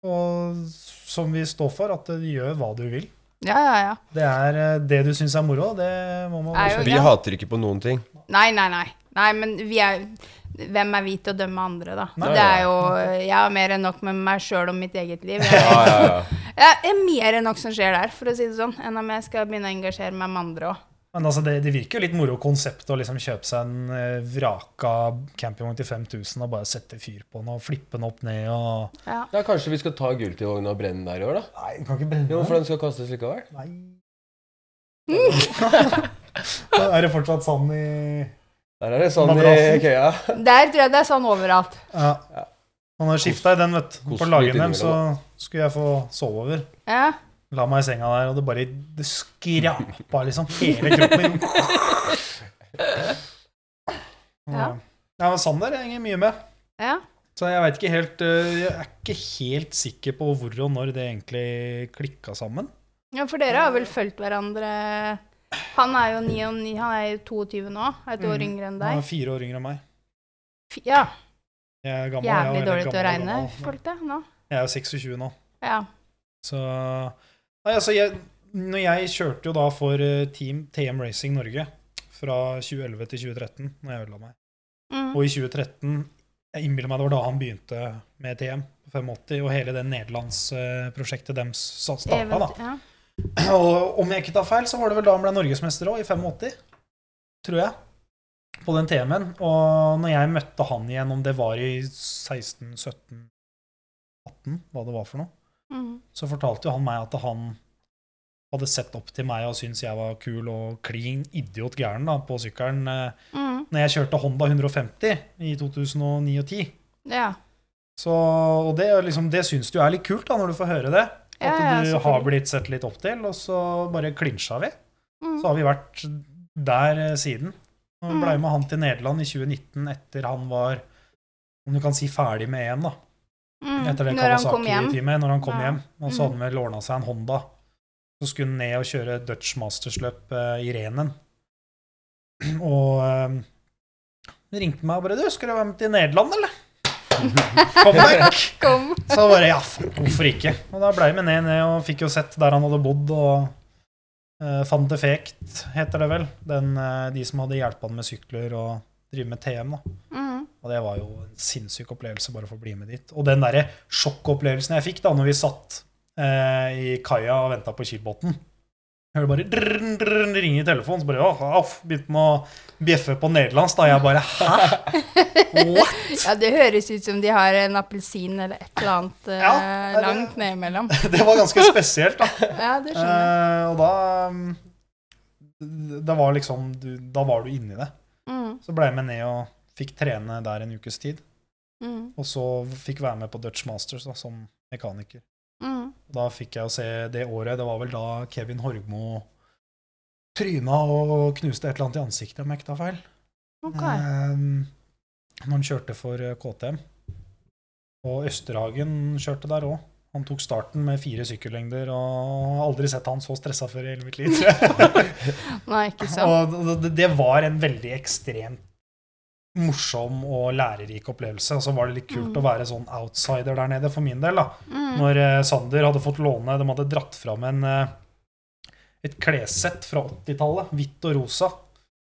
og som vi står for, at du gjør hva du vil.
ja, ja, ja.
Det er eh, det du syns er moro, det må man
Er
bare
jo
kjøre.
Vi hater ikke på noen ting.
Nei, nei, nei. Nei, men vi er Hvem er vi til å dømme andre, da?
Nei,
det
ja.
er jo Jeg har mer enn nok med meg sjøl og mitt eget liv.
Ja,
Jeg,
ja, ja.
jeg er mer enn nok som skjer der, for å si det sånn, enn om jeg skal begynne å engasjere meg med andre òg.
Men altså, det, det virker jo litt moro konsept å liksom kjøpe seg en eh, vraka campingvogn til 5000 og bare sette fyr på den og flippe den opp ned og
Ja.
<laughs> ja, kanskje vi skal ta gulltivogna og brenne der i år, da?
Nei, den kan ikke
Jo,
brenne
for den skal kastes likevel.
Nei. <laughs> er det fortsatt sand i
Der er det sånn i
Madrassen.
køya.
Der tror jeg det er sånn overalt.
Ja.
Ja.
Man har skifta i den, vet du. På
Kosten litt
Lagenheim så
innimellom,
skulle jeg få sove over.
Ja.
La meg i senga der, og det bare det skrapa liksom hele kroppen min. Ja.
Ja.
ja, men sand der henger mye med.
ja.
Så jeg vet ikke helt øh, Jeg er ikke helt sikker på hvor og når det egentlig klikka sammen.
Ja, for dere har vel fulgt hverandre Han er jo 29, han er jo 22 nå, er et år
Mm.
yngre enn
Han
deg.
er fire år yngre enn meg.
F- Ja,
Jeg er gammel. jeg er
jævlig
veldig
dårlig til å
gammel,
regne,
gammel.
folk det, nå.
Jeg er jo 26 nå.
Ja.
Så Nei, altså, jeg Når jeg kjørte jo da for eh, Team TM Racing Norge fra 2011 til 2013, når jeg ødela meg
Mm.
Og i 2013 Jeg innbiller meg det var da han begynte med TM, 85, og hele det eh, nederlandsprosjektet deres sa- starta, da.
Event- ja.
Og om jeg ikke tar feil, så var det vel da han ble norgesmester òg, i 85. Tror jeg. På den TM-en. Og når jeg møtte han igjen, om det var i 16, 17, 18, hva det var for noe,
Mm.
så fortalte jo han meg at han hadde sett opp til meg og syntes jeg var kul og klin idiot gæren da, på sykkelen. eh,
Mm.
Når jeg kjørte Honda 150 i 2009 og 10.
Ja.
Så, og det, er liksom, det syns du er litt kult da, når du får høre det. At
Ja, ja,
du
selvfølgelig.
har blitt sett litt opp til, og så bare klinsja vi.
Mm.
Så har vi vært der eh, siden. Og
Mm.
blei med han til Nederland i 2019 etter han var om du kan si ferdig med EM, da.
Mm.
Etter det
Når han kom hjem.
Kawasaki-teamet. Når han kom
Ja.
hjem. Og så
Mm.
hadde han vel ordna seg en Honda. Så skulle han ned og kjøre Dutch Masters-løp eh, i Renen. <clears throat> Og eh, han ringte meg og bare 'Du, skal du være med til Nederland,
<laughs>
eller?' Kom back!
Kom.
Så da bare ja, faen, hvorfor ikke? Og da blei vi ned ned og fikk jo sett der han hadde bodd, og uh, Van de Fekt heter det vel. Den, eh, de som hadde hjulpet han med sykler og drive med TM, da.
Mm.
Og det var jo en sinnssyk opplevelse bare for å bli med dit. Og den derre sjokkopplevelsen jeg fikk da når vi satt eh, i kaia og venta på Kilbotn. Hører bare drrrn, drrrn, ringe i telefonen, så bare «Åh, aff, begynte han å bjeffe på nederlandsk. Da jeg bare Hæ? What? <laughs>
Ja, det høres ut som de har en appelsin eller et eller annet eh,
Ja, det er det.
langt ned imellom.
Det var ganske spesielt, da.
Ja, det skjønner jeg.
Eh, og da um, det var liksom, du, Da var du inni det.
Mm.
Så blei jeg med ned og fikk trene der en ukes tid.
Mm.
Og så fikk være med på Dutch Masters da, som mekaniker.
Mm.
Og da fikk jeg å se det året. Det var vel da Kevin Horgmo tryna og knuste et eller annet i ansiktet, om jeg ikke tar feil.
Ok.
Ehm, når han kjørte for eh, KTM. Og Østerhagen kjørte der òg. Han tok starten med fire sykkellengder, og har aldri sett han så stressa før i hele
<laughs>
mitt liv. tror jeg.
Nei, ikke sånn. sant.
og det- det, det var en veldig ekstremt morsom og lærerik opplevelse. Og så var det litt kult å
Mm.
være sånn outsider der nede, for min del. da.
Mm.
Når eh, Sander hadde fått låne De hadde dratt fram en, eh, et klessett fra 80-tallet, hvitt og rosa,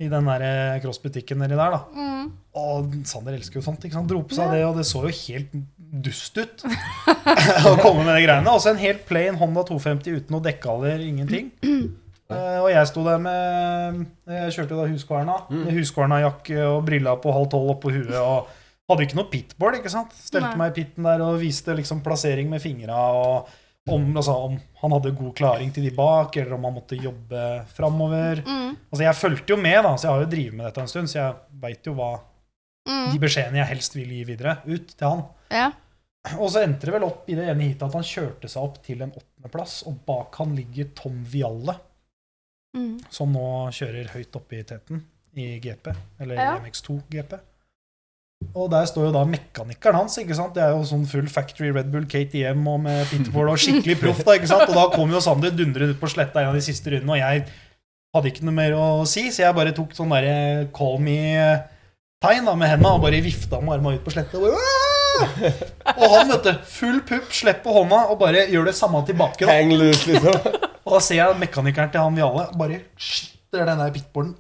i den der eh, crossbutikken nedi der. da.
Mm.
Og Sander elsker jo sånt. ikke sant? Dro på seg det, og det så jo helt dust ut. <laughs> å komme med de greiene. Også en helt plain Honda 250 uten noe dekkehaller,
<clears throat>
ingenting. Eh, og jeg sto der med eh, Jeg kjørte jo da huskvarna. Med huskvarna-jakke og briller på halv tolv oppå huet. og Hadde ikke noe pitboard, ikke sant? Stelte
Nei.
meg i pitten der og viste liksom plassering med fingra. Og om, altså, om han hadde god klaring til de bak, eller om han måtte jobbe framover.
Mm.
Altså, jeg fulgte jo med, da, så jeg har jo drevet med dette en stund, så jeg veit jo hva
Mm.
de beskjedene jeg helst vil gi videre, ut til han.
Ja.
Og så endte det vel opp i det ene heatet at han kjørte seg opp til en åttendeplass, og bak han ligger Tom Vialle,
Mm.
som nå kjører høyt oppe i teten i GP, eller
Ja.
MX2 GP. Og der står jo da mekanikeren hans. ikke sant? Det er jo sånn full Factory Red Bull KTM og med pitbull og skikkelig proff. da, ikke sant? Og da kom jo Sander dundrende ut på sletta en av de siste rundene, og jeg hadde ikke noe mer å si, så jeg bare tok sånn derre call me-tegn da med henda og bare vifta med arma ut på sletta. Og, bare, «Åh!» og han, vet du, full pupp, slipper hånda og bare gjør det samme tilbake. da.
Hang loose, liksom.
Og da ser jeg mekanikeren til han vi alle bare skytter den der pitbullen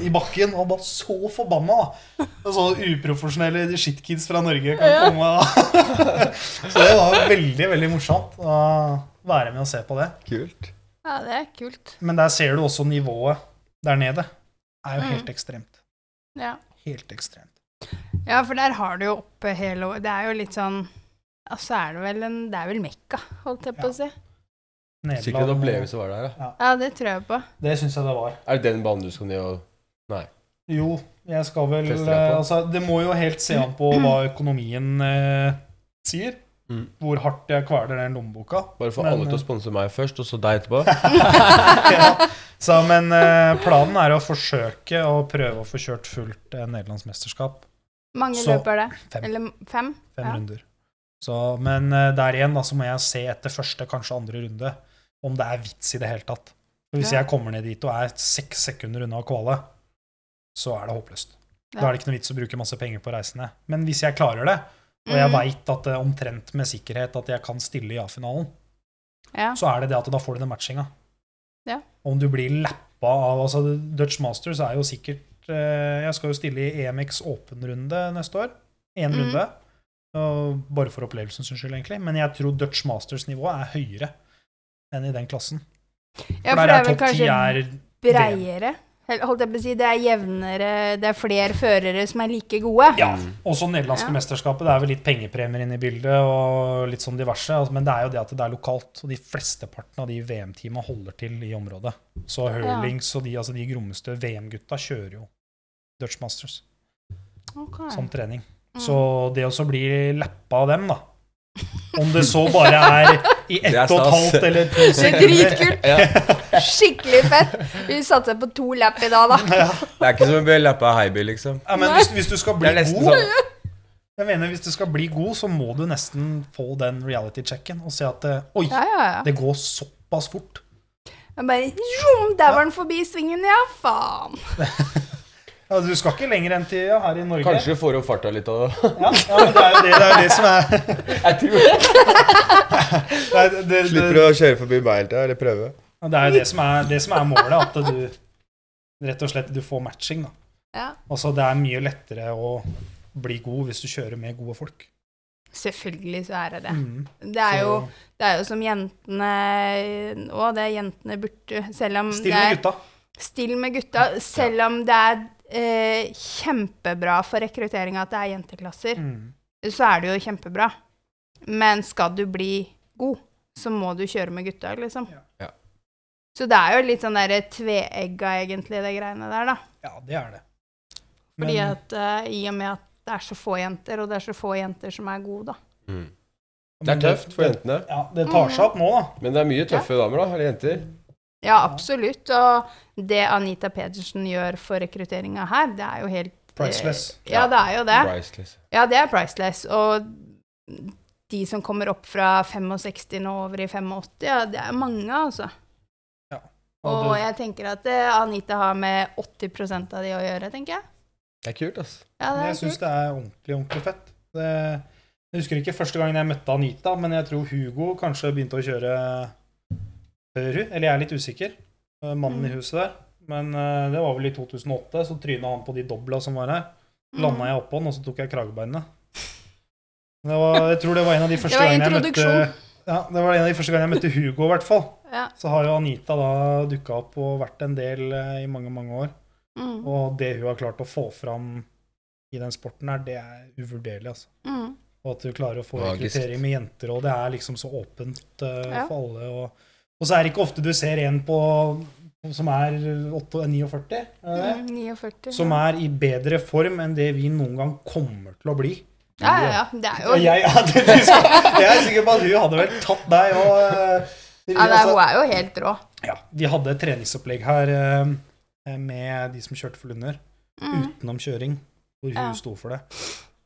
i bakken og bare så forbanna. da. Og Så uprofesjonelle shitkids fra Norge kan komme. da. <laughs> Så det var veldig, veldig morsomt å være med og se på det.
<laughs> Kult.
Ja, det er kult.
Men der ser du også nivået der nede. Det er jo helt ekstremt.
Ja.
Helt ekstremt.
ja, for der har du jo oppe hele året. Det er jo litt sånn Altså er det vel en Det er vel Mekka, holdt jeg på å si.
Sikkert en opplevelse var det her, da.
Ja, det tror jeg på.
Det syns jeg det var.
Er det den banen du skal ned og
Jo, jeg skal vel
Tester jeg på.
altså, Det må jo helt se an på hva økonomien eh, sier.
Mm.
Hvor hardt jeg kveler den lommeboka.
Bare få
Men,
alle til å
eh,
sponse meg først, og så deg etterpå?
ja. Så, men eh, planen er å forsøke å prøve å få kjørt fullt eh, nederlandsmesterskap.
Mange
Så-
løper det.
Fem,
Eller fem?
fem
ja.
runder. Så, men eh, der igjen da, så må jeg se etter første, kanskje andre runde, om det er vits i det hele tatt. For Hvis
Ja.
jeg kommer ned dit og er seks sekunder unna å kvale, så er det håpløst. Da
Ja.
er det ikke noe vits å bruke masse penger på reisene. Men hvis jeg klarer det, og jeg
Mhm.
veit at det er omtrent med sikkerhet at jeg kan stille i A-finalen,
Ja.
så er det det at da får du den matchinga.
Ja.
Om du blir lappa av altså Dutch Masters er jo sikkert eh, Jeg skal jo stille i EMX åpen-runde neste år. Én
Mhm.
runde. Og bare for opplevelsens skyld, egentlig. Men jeg tror Dutch Masters-nivået er høyere enn i den klassen.
ja,
for der er topp ti
kanskje
er
breiere. Eller, Holdt jeg på å si, det er jevnere, det er flere førere som er like gode.
Ja.
Mm.
Også nederlandske
Ja.
mesterskapet. Det er vel litt pengepremier inne i bildet, og litt sånn diverse. altså, Men det er jo det at det er lokalt, og de flesteparten av de VM-teama holder til i området. Så Hurlings og de, altså de grommeste VM-gutta kjører jo Dutch Masters
Ok.
som trening.
Mm.
Så det også blir lappa av dem, da. Om det så bare er i
Det
ett
er
og
stas.
et halvt eller to <laughs>
Det er
sekunder.
dritkult! Skikkelig fett! Vi satser på to lapp i dag, da.
Det er ikke som å bli lappa av Heiby, liksom.
Ja, men hvis, hvis du skal
Det
bli
er nesten
god,
sånn
jeg mener, hvis du skal bli god, så må du nesten få den reality-checken og se at eh, Oi!
Ja, ja, ja.
Det går såpass fort.
Jeg bare Jom, der var den forbi svingen, ja, faen.
Ja, du skal ikke lenger enn til her i Norge.
Kanskje du får opp farta litt av det.
Ja, ja, men det er jo det, det, er det som er
Jeg tror det.
det, er- det, det,
Slipper å kjøre forbi meg hele tida, eller prøve.
Ja, det, er jo det, som er, det som er målet, at du rett og slett du får matching. da.
Ja.
Altså, Det er mye lettere å bli god hvis du kjører med gode folk.
Selvfølgelig så er det det.
Mm.
Det er jo,
Så
det er jo som jentene Å, det er jentene burde Selv om
Still
det
med
er
gutta.
still med gutta, selv om det er eh, kjempebra for rekruttering at det er jenteklasser,
Mm.
så er det jo kjempebra. Men skal du bli god, så må du kjøre med gutta, liksom.
Ja.
Så det er jo litt sånn derre tveegga, egentlig, det greiene der, da.
Ja, det er det.
Fordi
Men-
at eh, i og med at det er så få jenter, og det er så få jenter som er gode, da.
Det er
men
tøft for
det-
Mm. jentene.
Ja, Det tar seg opp nå, da.
Men det er mye tøffe damer, da. Eller jenter.
Ja, absolutt. Og det Anita Pedersen gjør for rekrutteringa her, det er jo helt eh,
Priceless.
Ja, det er jo det.
Priceless.
Ja, det er priceless. Og de som kommer opp fra 65 nå over i 85, ja, det er mange, altså. Og
Og det,
jeg tenker at eh, Anita har med 80 av de å gjøre, tenker jeg.
Det er kult, ass.
Ja, det
jeg
er
syns
kult.
det er ordentlig, ordentlig fett. Det, jeg husker ikke første gangen jeg møtte Anita, men jeg tror Hugo kanskje begynte å kjøre før hun. Eller jeg er litt usikker. eh, Mannen
Mm.
i huset der. Men eh, det var vel i 2008. Så tryna han på de dobla som var her.
Mm.
Landa jeg oppå den, og så tok jeg kragebeinet. Det var, jeg tror det var en av de første
<laughs> Det var
gangene jeg møtte
introduksjon.
ja, Det var en av de første gangene jeg møtte Hugo, i hvert fall.
Ja.
Så har jo Anita da dukka opp og vært en del eh, i mange, mange år.
Mm,
Og det hun har klart å få fram i den sporten her, det er uvurderlig, altså.
mm.
Og at du klarer å få
Magisk.
rekruttering med jenter, og det er liksom så åpent eh,
Ja.
for alle. Og, og så er det ikke ofte du ser en på som er 8, 49, er det det?
Mm, 49.
som er i bedre form enn det vi noen gang kommer til å bli.
Ja, ja, ja. Det er jo
Og jeg, <laughs> ja, det, du skal, jeg er sikker på at hun hadde vel tatt deg og eh,
Ja, nei,
altså,
hun er jo helt rå.
ja, Vi hadde eh, et treningsopplegg her eh, med de som kjørte for Lunder,
Mm.
utenom kjøring. hvor hun
Ja.
sto for det.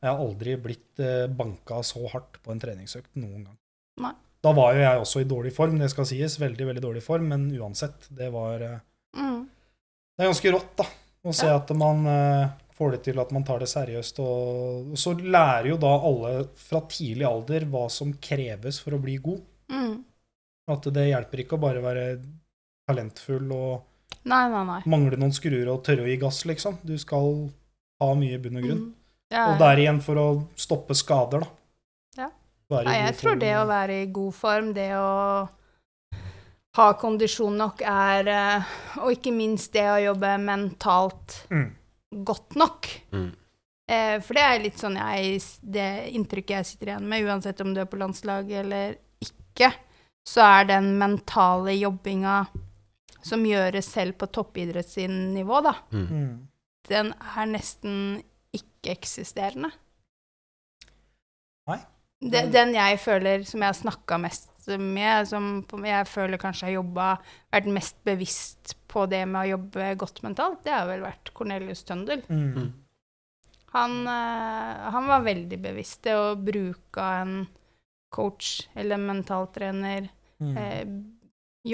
Jeg har aldri blitt eh, banka så hardt på en treningsøkt noen gang.
Nei.
Da var jo jeg også i dårlig form, det skal sies. Veldig, veldig dårlig form, men uansett. Det var eh,
Mm.
det er ganske rått, da. Å se
Ja.
at man eh, får det til at man tar det seriøst. Og, og så lærer jo da alle fra tidlig alder hva som kreves for å bli god.
Mm.
At det hjelper ikke å bare være talentfull og
Nei, nei, nei.
mangle noen skruer og tørre å gi gass, liksom. Du skal ha mye i bunn og grunn.
Mm. Ja,
Og der igjen for å stoppe skader, da.
Ja.
Være i
Nei, jeg
god
tror
form.
det å være i god form, det å ha kondisjon nok, er eh, Og ikke minst det å jobbe mentalt
mm.
godt nok.
Mm.
Eh, for det er litt sånn jeg, det inntrykket jeg sitter igjen med, uansett om du er på landslaget eller ikke, så er den mentale jobbinga som gjøres selv på toppidrettsnivå, da,
Mm.
den er nesten ikke-eksisterende.
Nei.
De, den jeg føler som jeg har snakka mest med, som på- jeg føler kanskje har jobba Vært mest bevisst på det med å jobbe godt mentalt, det har vel vært Cornelius Tøndel.
Mm.
Han, eh, han var veldig bevisst det å bruke en coach eller en mentaltrener.
Mm.
Eh,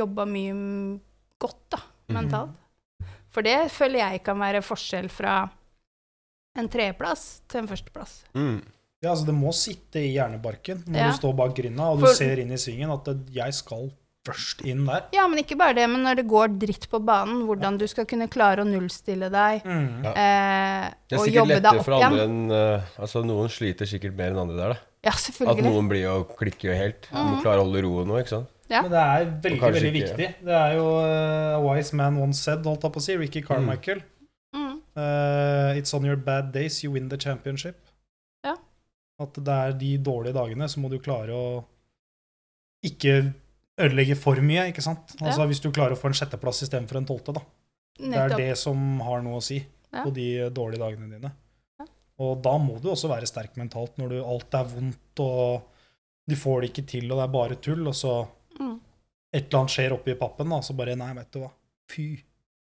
jobba mye m- godt, da,
Mhm.
mentalt. For det føler jeg kan være forskjell fra en tredjeplass til en førsteplass.
Mm.
Ja, altså det må sitte i hjernebarken når
Ja.
du står bak grinda og du
For-
ser inn i svingen at det- jeg skal først inn der.
Ja, men ikke bare det, men når det går dritt på banen, hvordan du skal kunne klare å nullstille deg
Mm.
Ja.
eh,
Det er
og
sikkert
jobbe deg
lettere
opp
for andre
igjen.
enn eh, Altså, noen sliter sikkert mer enn andre der, da.
Ja,
At
selvfølgelig. Mm.
noen blir og klikker jo helt. Du må klare å holde roen nå, ikke sant.
Ja.
Men det er veldig,
Og kanskje
veldig
ikke-
viktig. Det er jo eh, A Wise Man Once Said, holdt jeg på å si, Ricky Carmichael.
Mm.
Eh, it's on your bad days you win the championship.
Ja.
At det er de dårlige dagene, så må du klare å ikke ødelegge for mye, ikke sant?
Ja.
Altså hvis du klarer å få en sjetteplass istedenfor en tolvte, da. Det er
Nettopp.
det som har noe å si
Ja.
på de dårlige dagene dine.
Ja.
Og da må du også være sterk mentalt når du, alt er vondt og du får det ikke til og det er bare tull, og så
Mm.
et eller annet skjer oppi pappen, da, så bare Nei, vet du hva. Fy.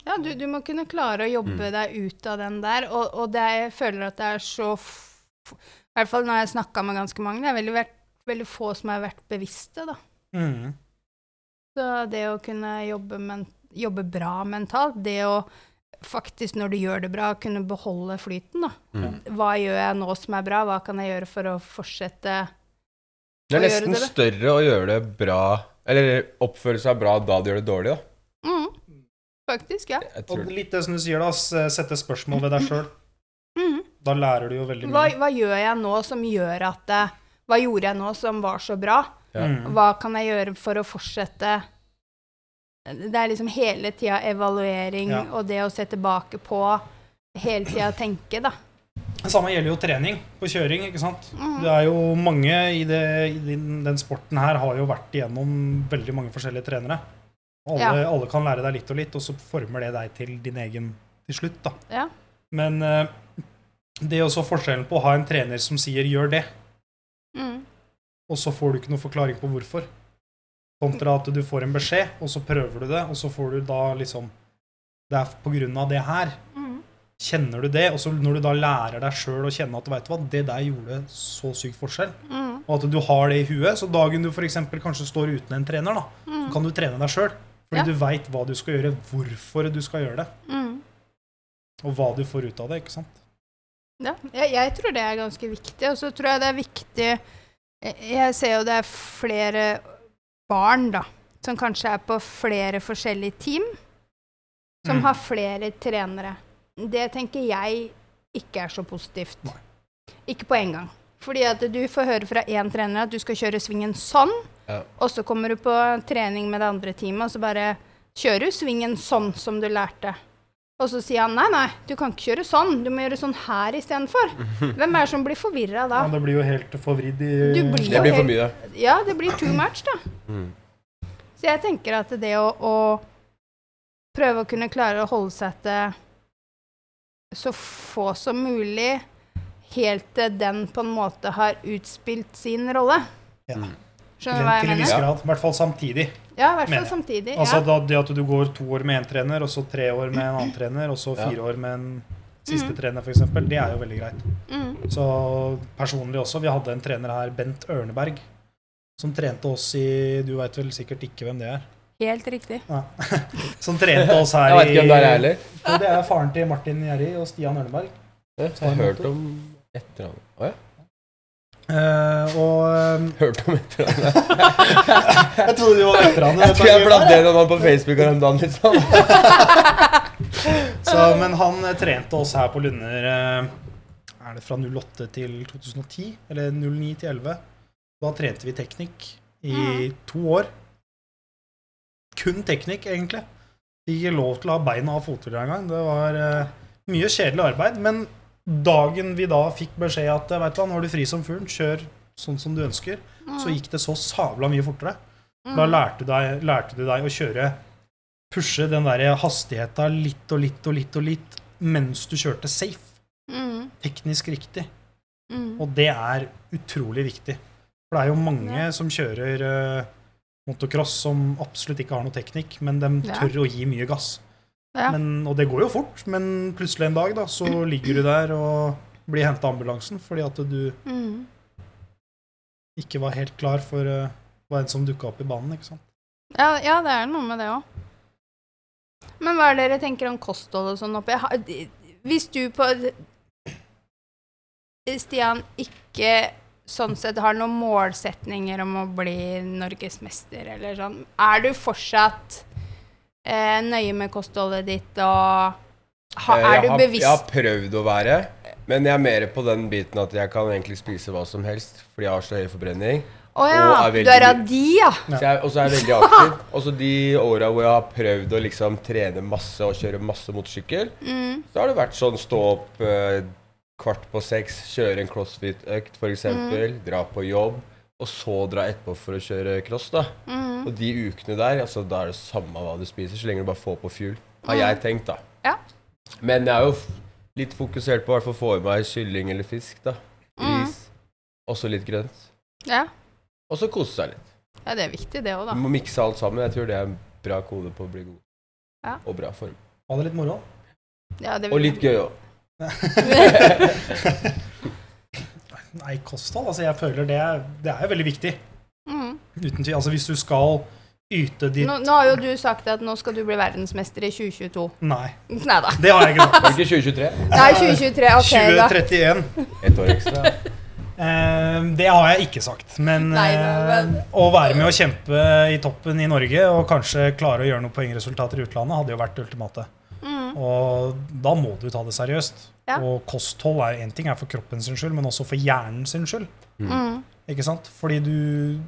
Ja, du, du må kunne klare å jobbe
Mm.
deg ut av den der, og, og det, jeg føler at det er så f f- I hvert fall når jeg har snakka med ganske mange, det er veldig, vært- veldig få som har vært bevisste, da.
Mm.
Så det å kunne jobbe, men, jobbe bra mentalt, det å faktisk, når du gjør det bra, kunne beholde flyten, da.
Mm.
Hva gjør jeg nå som er bra, hva kan jeg gjøre for å fortsette
Det er
Å gjøre
nesten
det,
større å gjøre det bra Eller oppføre seg bra da du gjør det dårlig, da.
mm. Faktisk, ja.
Jeg tror
Og litt det som du sier, da. s- Sette spørsmål ved deg sjøl.
Mm.
Da lærer du jo veldig
Hva,
mye.
hva gjør jeg nå som gjør at eh, Hva gjorde jeg nå som var så bra?
Ja.
Mm.
Hva kan jeg gjøre for å fortsette? Det er liksom hele tida evaluering
Ja.
og det å se tilbake på Hele tida tenke, da.
Det samme gjelder jo trening på kjøring, ikke sant.
Mm.
Det er jo mange i, det, i den, den sporten her har jo vært igjennom veldig mange forskjellige trenere. Alle, alle kan lære deg litt og litt, og så former det deg til din egen til slutt, da.
Ja.
Men eh, det er også forskjellen på å ha en trener som sier 'gjør det',
Mm.
og så får du ikke noen forklaring på hvorfor. Kontra at du får en beskjed, og så prøver du det, og så får du da liksom Det er på grunn av det her.
Mm.
Kjenner du det? Og så når du da lærer deg sjøl å kjenne at vet du hva, det der gjorde så syk forskjell,
Mm.
og at du har det i huet Så dagen du f.eks. kanskje står uten en trener, da,
Mm.
så kan du trene deg sjøl. Fordi
Ja.
du veit hva du skal gjøre, hvorfor du skal gjøre det,
Mm.
og hva du får ut av det. ikke sant?
Ja, jeg, jeg tror det er ganske viktig. Og så tror jeg det er viktig jeg- Eh, Jeg ser jo det er flere barn, da, som kanskje er på flere forskjellige team, som
Mm.
har flere trenere. Det tenker jeg ikke er så positivt. Ikke på en gang. Fordi at du får høre fra én trener at du skal kjøre svingen sånn,
Ja.
og så kommer du på trening med det andre teamet, og så bare kjører du svingen sånn som du lærte. Og så sier han nei, nei, du kan ikke kjøre sånn, du må gjøre sånn her
<laughs>
istedenfor. Hvem er det som blir forvirra da?
Ja, det blir jo helt forvridd i
Du blir-
Det blir for mye.
Ja, det blir too much, da.
Mm.
Så jeg tenker at det å, å prøve å kunne klare å holde seg til så få som mulig, helt til den på en måte har utspilt sin rolle.
Ja.
Skjønner du hva jeg
Til en viss
mener?
grad. I hvert fall samtidig.
Ja, i hvert
mener
fall
jeg.
samtidig.
Altså
Ja.
da, det at du går to år med én trener, og så tre år med en annen trener, og så
Ja.
fire år med en Siste trener, f.eks. Det er jo veldig greit.
Mm.
Så personlig også. Vi hadde en trener her, Bent Ørneberg, som trente oss i Du veit vel sikkert ikke hvem det er?
Helt riktig.
Nei. Som trente oss her
Jeg vet ikke hvem det er, jeg heller.
Jo, det er faren til Martin Gjerri og Stian Ørneberg.
Jeg har hørt om et eller annet. Å ja.
Eh, og eh,
Hørt om et eller
<laughs>
annet.
Jeg trodde du var <laughs> veteran.
Jeg tror jeg bladde noen på Facebook her om dagen, liksom.
Så, men han eh, trente oss her på Lunder eh, Er det fra 08 til 2010? Eller 09 til 11? Da trente vi teknikk i to år. Kun teknikk, egentlig. Vi gikk lov til å ha beina av fothuller engang. Det var eh, mye kjedelig arbeid. Men dagen vi da fikk beskjed at eh, vet du hva, nå har du fri som fuglen, kjør sånn som du ønsker, så gikk det så sabla mye fortere. Da lærte du deg, lærte du deg å kjøre Pushe den der hastigheta litt og litt og litt og litt mens du kjørte safe.
Mm.
Teknisk riktig.
Mm.
Og det er utrolig viktig. For det er jo mange
Ja.
som kjører eh, motocross som absolutt ikke har noe teknikk, men de
Ja.
tør å gi mye gass.
Ja.
Men, og det går jo fort, men plutselig en dag da, så ligger du der og blir henta av ambulansen fordi at du
Mm.
ikke var helt klar for eh, hva enn som dukka opp i banen. ikke sant?
Ja, ja, det er noe med det òg. Men hva er det dere tenker om kosthold og sånn oppi? Ha- d- Hvis du på Stian ikke sånn sett har noen målsetninger om å bli norgesmester eller sånn, er du fortsatt eh, nøye med kostholdet ditt og ha,
Eh,
Er
jeg
du
har- Jeg har
bevisst
prøvd å være, men jeg er mer på den biten at jeg kan egentlig spise hva som helst fordi jeg har så høy forbrenning.
Å ja,
og er veldig
du er av
bevisst.
de, ja.
Så jeg- Og så er jeg veldig aktiv. Og så de åra hvor jeg har prøvd å liksom trene masse og kjøre masse motorsykkel,
Mm,
så har det vært sånn stå opp eh, kvart på seks, kjøre en crossfit-økt f.eks.,
Mm.
dra på jobb, og så dra etterpå for å kjøre cross, da.
mm,
Og de ukene der, altså da er det samme hva du spiser, så lenge du bare får på fuel. Har jeg tenkt, da.
Mm. ja.
Men jeg er jo f litt fokusert på å i hvert fall få i meg kylling eller fisk, da.
Mm.
Ris. Også litt grønt.
ja.
Og så kose seg litt.
Ja, det er viktig, det òg, da.
Du må mikse alt sammen. Jeg tror det er en bra kode på å bli god.
Ja.
Og bra form.
Ha det litt moro.
Ja, det
Og litt gøy òg.
Nei, kosthold, altså jeg føler det, det er jo veldig viktig.
Mm.
Uten tvil. Altså, hvis du skal yte ditt
Nå, nå har jo du sagt at nå skal du bli verdensmester i 2022.
Nei,
Nei
<laughs>
da.
det har jeg ikke sagt.
Var det ikke 2023?
Nei, 2023. <laughs> Ok, da.
2031.
Ett år
<laughs>
ekstra.
Eh, det har jeg ikke sagt. Men
Nei, nei,
eh, å være med å kjempe i toppen i Norge og kanskje klare å gjøre noen poengresultater i utlandet, hadde jo vært det ultimate.
Mm.
Og da må du ta det seriøst.
Ja.
Og kosthold er jo én ting er for kroppen sin skyld, men også for hjernen sin skyld.
Mm.
Ikke sant? Fordi du,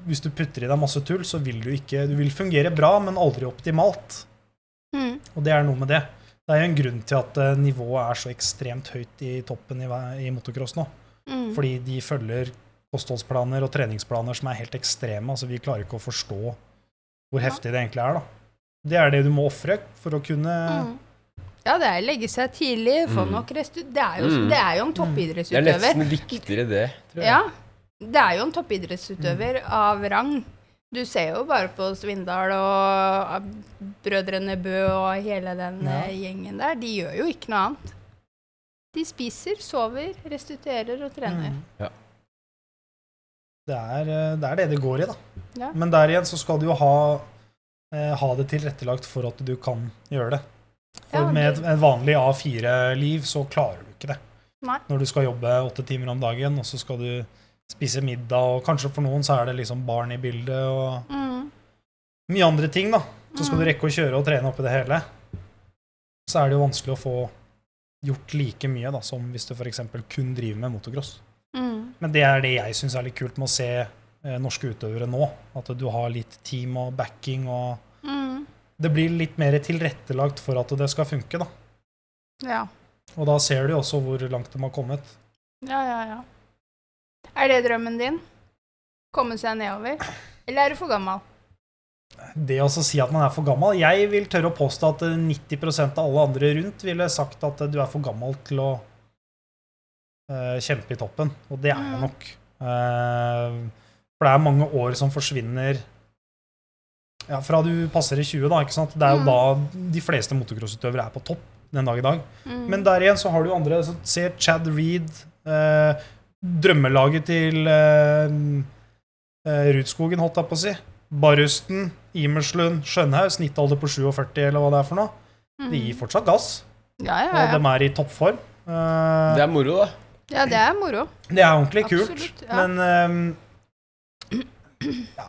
hvis du putter i deg masse tull, så vil du ikke Du vil fungere bra, men aldri optimalt.
Mm.
Og det er noe med det. Det er jo en grunn til at eh, nivået er så ekstremt høyt i toppen i, ve- i motocross nå.
Mm.
Fordi de følger kostholdsplaner og treningsplaner som er helt ekstreme. Altså, vi klarer ikke å forstå hvor heftig det egentlig er, da. Det er det du må ofre for å kunne
Mm. Ja, det er legge seg tidlig, få nok restu... Det er jo,
Mm.
det er jo en
Det er
toppidrettsutøver.
nesten viktigere det, tror jeg.
Ja. Det er jo en toppidrettsutøver av rang. Du ser jo bare på Svindal og eh, brødrene Bø og hele den
Ja.
eh, gjengen der. De gjør jo ikke noe annet. De spiser, sover, restituerer og
Mm.
trener.
Ja.
Det, er, eh, det er det det går i, da.
Ja.
Men der igjen så skal du jo ha, eh, ha det tilrettelagt for at du kan gjøre det. For
Ja,
med
det-
et, et vanlig A4-liv så klarer du ikke det.
Nei.
Når du skal jobbe åtte timer om dagen, og så skal du spise middag, og kanskje for noen så er det liksom barn i bildet, og
Mm.
mye andre ting, da. Så skal du rekke å kjøre og trene oppi det hele. Så er det jo vanskelig å få gjort like mye da, som hvis du f.eks. kun driver med motocross.
Mm.
Men det er det jeg syns er litt kult med å se eh, norske utøvere nå. At du har litt team og backing, og
Mm.
det blir litt mer tilrettelagt for at det skal funke, da.
Ja.
Og da ser du jo også hvor langt de har kommet.
Ja, ja, ja. Er det drømmen din? Komme seg nedover? Eller er du for gammel?
Det å så si at man er for gammel Jeg vil tørre å påstå at eh, 90 av alle andre rundt ville sagt at eh, du er for gammel til å eh, kjempe i toppen. Og det er jeg nok. Eh, for det er mange år som forsvinner ja, fra du passer i 20, da. ikke sant? Det er jo da de fleste motocrossutøvere er på topp den dag i dag. Men der igjen så har du jo andre. Så se Chad Reed, eh, drømmelaget til eh, eh, Rudskogen, holdt jeg på å si. Barrusten, Imerslund, Skjønhaug. Snittalder på 47, eller hva det er for noe.
Mm.
De gir fortsatt gass, og
Ja, Mm. ja, ja.
de er i toppform. Eh,
Det er moro, da.
ja, det er moro.
det er ordentlig kult,
Absolutt, ja.
men ehm, <clears throat> ja.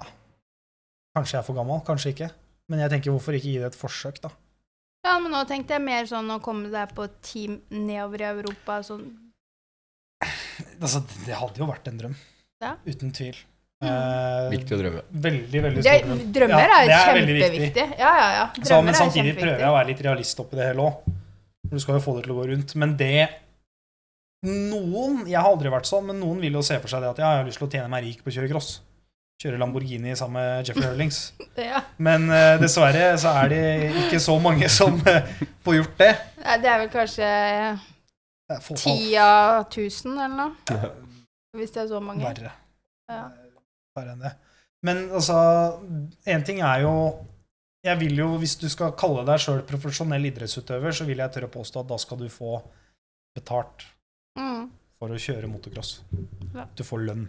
Kanskje jeg er for gammel, kanskje ikke. Men jeg tenker, hvorfor ikke gi det et forsøk, da?
Ja, men nå tenkte jeg mer sånn å komme deg på et team nedover i Europa. Sånn.
Altså, det hadde jo vært en drøm.
Ja. Mm.
Uten tvil. Eh,
Viktig å drømme.
veldig, veldig
Det,
stor drøm.
drømmer
Ja,
er,
det er veldig
kjempeviktig. Ja, ja, ja.
Så,
Drømmer
men
er
samtidig prøver jeg
kjempeviktig.
å være litt realist oppi det hele òg. Du skal jo få det til å gå rundt. Men det Noen Jeg har aldri vært sånn, men noen vil jo se for seg det at ja, jeg har lyst til å tjene meg rik på å kjøre cross. Kjøre Lamborghini sammen med Jeffrey Hurlings.
Ja.
Men eh, dessverre så er det ikke så mange som eh, får gjort det.
Nei, Det er vel kanskje
Det er fåtall.
ti av tusen eller noe. Hvis det er så mange.
Verre.
Ja.
Verre enn det. Men altså, én ting er jo jeg vil jo, Hvis du skal kalle deg sjøl profesjonell idrettsutøver, så vil jeg tørre å påstå at da skal du få betalt
Mm.
for å kjøre motocross.
Ja.
Du får lønn.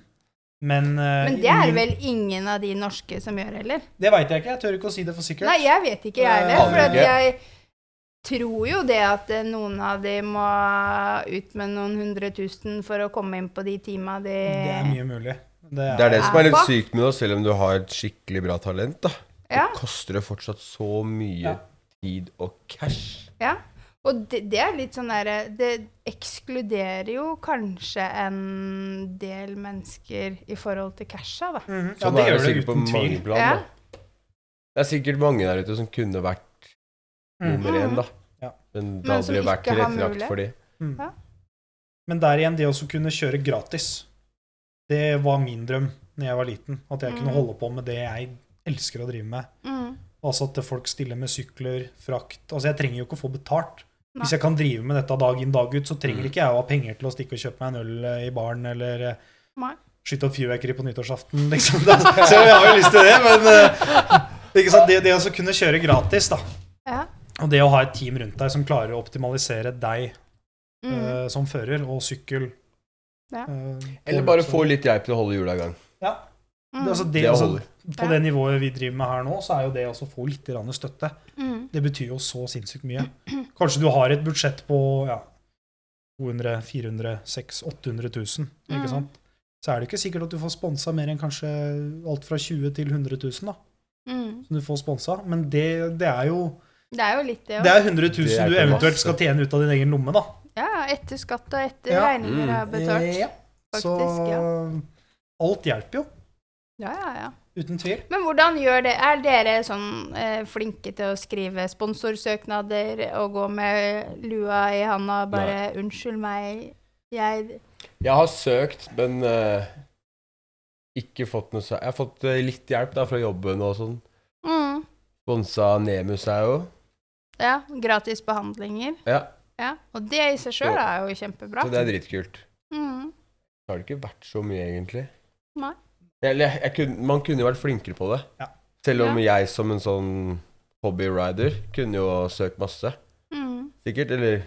Men, eh,
Men det er
min-
vel ingen av de norske som gjør heller.
Det veit jeg ikke. Jeg tør ikke å si det for sikkert.
Nei, jeg vet ikke, jeg
Eh,
heller. For at
Aner
jeg tror jo det at eh, noen av de må ut med noen hundre tusen for å komme inn på de teama de
Det er mye mulig. Det
Det er det som er litt
Hva?
sykt med det, selv om du har et skikkelig bra talent, da.
Ja,
Det koster det fortsatt så mye
Ja.
tid og cash.
ja. Og det, det er litt sånn derre Det ekskluderer jo kanskje en del mennesker i forhold til casha, da.
Mhm. Ja,
Sånn
det
er
gjør det
sikkert på
uten tvil.
mange plan.
Ja.
Da. Det er sikkert mange der ute som kunne vært
Mm.
nummer én, da.
Ja.
Men det
Men
har
som
aldri vært
ikke har
tilrettelagt
mulighet.
for de.
Mm.
Ja.
Men der igjen, det å så kunne kjøre gratis, det var min drøm når jeg var liten. At jeg kunne
Mm.
holde på med det jeg elsker å drive med.
Mm.
Altså at folk stiller med sykler, frakt Altså jeg trenger jo ikke å få betalt.
Nei.
Hvis jeg kan drive med dette dag inn dag ut, så trenger
Mm.
ikke jeg å ha penger til å stikke og kjøpe meg en øl eh, i baren eller eh,
Nei.
skyte opp fyrverkeri på
<laughs>
nyttårsaften, liksom. Det er- Selv om jeg har jo lyst til det, men eh, ikke sant? Det, det å så kunne kjøre gratis, da,
Ja.
og det å ha et team rundt deg som klarer å optimalisere deg
Mm.
eh, som fører, og sykkel.
Ja.
eh,
Eller
på
bare
løpsdagen.
få litt hjelp til å holde hjula i gang.
Ja,
Mm.
det, altså det,
Det
altså,
holder.
På
Ja.
det nivået vi driver med her nå, så er jo det også å få litt grann støtte.
mm.
Det betyr jo så sinnssykt mye. Kanskje du har et budsjett på ja, 200 400 600 800 000,
Mm.
ikke sant? Så er det ikke sikkert at du får sponsa mer enn kanskje alt fra 20 til 100 000, da.
Mm.
Som du får sponsa. Men det, det er jo
Det er jo litt det
Det
òg.
er 100 000
Det er
du
ikke
eventuelt
masse.
skal tjene ut av din egen lomme, da.
Ja, etter skatt og etter
Ja.
regninger er betalt.
Eh, ja. Så
Faktisk,
alt hjelper jo.
Ja, ja, ja.
Uten tvil.
Men hvordan gjør det? Er dere sånn eh, flinke til å skrive sponsorsøknader og gå med lua i handa og bare 'Unnskyld meg, jeg
Jeg har søkt, men eh, ikke fått noe sær... Jeg har fått eh, litt hjelp da fra jobben og sånn.
mm,
Sponsa Nemus er jo.
Ja, gratis behandlinger.
Ja,
Ja. Og det i seg sjøl er jo kjempebra.
så det er dritkult.
Mm,
Det har det ikke vært så mye, egentlig.
Nei.
Eller jeg, jeg kunne, man kunne jo vært flinkere på det.
Ja.
Selv om jeg som en sånn hobbyrider kunne jo søkt masse,
mm,
sikkert. Eller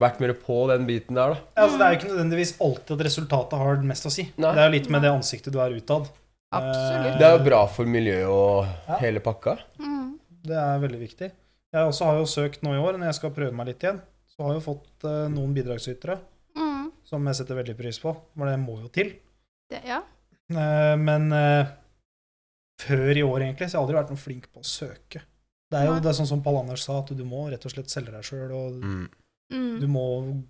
vært mer på den biten der, da.
Altså, det er jo ikke nødvendigvis alltid at resultatet har mest å si.
Nei.
Det er jo litt med det ansiktet du er utad. Eh,
absolutt.
Det er jo bra for miljøet og
Ja.
hele pakka.
Mm,
Det er veldig viktig. Jeg også har jo søkt nå i år, når jeg skal prøve meg litt igjen. Så har jeg jo fått eh, noen bidragsytere,
mm,
som jeg setter veldig pris på. For det må jo til.
det, ja.
Eh, men eh, før i år, egentlig, så har jeg aldri vært noe flink på å søke. Det er jo
Nei.
det er sånn som Pall Anders sa, at du må rett og slett selge deg sjøl, og du
Mm.
må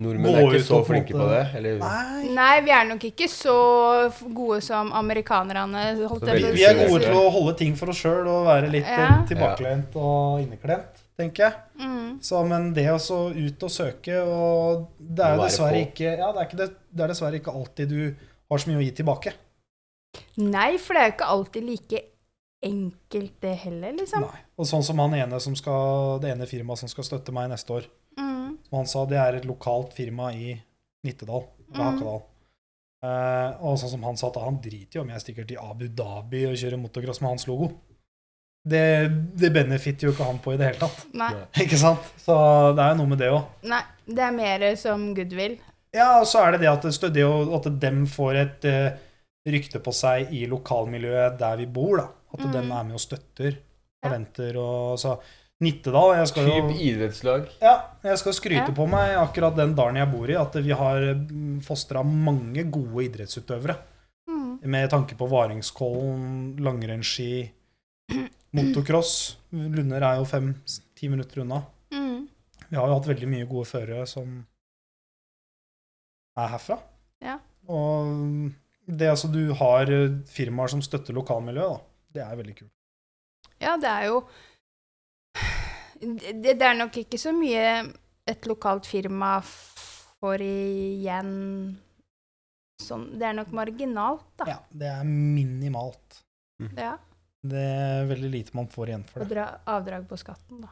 Nordmenn
Gå
er ikke
ut
så
og på en
flinke på det.
måte-
Eller
Nei!
Nei, vi er nok ikke så f- gode som amerikanerne. Holdt
Så
jeg på å
Vi er
si.
gode til å holde ting for oss sjøl og være litt eh,
Ja.
tilbakelent og inneklemt, tenker jeg.
Mm,
Så, men det å så ut og søke, og det er
Å
jo
være
dessverre
på.
ikke, ja, det er ikke, det, det er dessverre ikke alltid du har så mye å gi tilbake.
Nei, for det er jo ikke alltid like enkelt, det heller, liksom.
Nei. Og sånn som han ene som skal, det ene firmaet som skal støtte meg neste år,
Mm.
som han sa, det er et lokalt firma i Nittedal, eller
Mm.
Hakadal. Eh, og sånn som han sa, at han driter jo om jeg stikker til Abu Dhabi og kjører motocross med hans logo. det, det benefitter jo ikke han på i det hele tatt.
Nei.
Ikke sant? Så det er jo noe med det òg.
Nei, det er mer som goodwill.
Ja, og så er det det at, det stø- det å- at dem får et eh, rykte på seg i lokalmiljøet der vi bor, da. At
Mm.
dem er med og støtter
Ja.
talenter og så Nittedal Jeg skal jo
Typ idrettslag.
ja, jeg skal skryte
Ja.
på meg akkurat den dalen jeg bor i, at vi har fostra mange gode idrettsutøvere.
Mm.
Med tanke på Varingskollen, langrennsski, motocross. Lunder er jo fem-ti minutter unna.
Mm.
Vi har jo hatt veldig mye gode førere som er herfra.
Ja.
Og det altså du har eh, firmaer som støtter lokalmiljøet, da. Det er veldig kult.
Ja, det er jo <sighs> det, det er nok ikke så mye et lokalt firma f- får igjen sånn Det er nok marginalt, da.
Ja, det er minimalt.
Ja.
Det er veldig lite man får igjen for
Og
det.
dra, avdrag på skatten, da.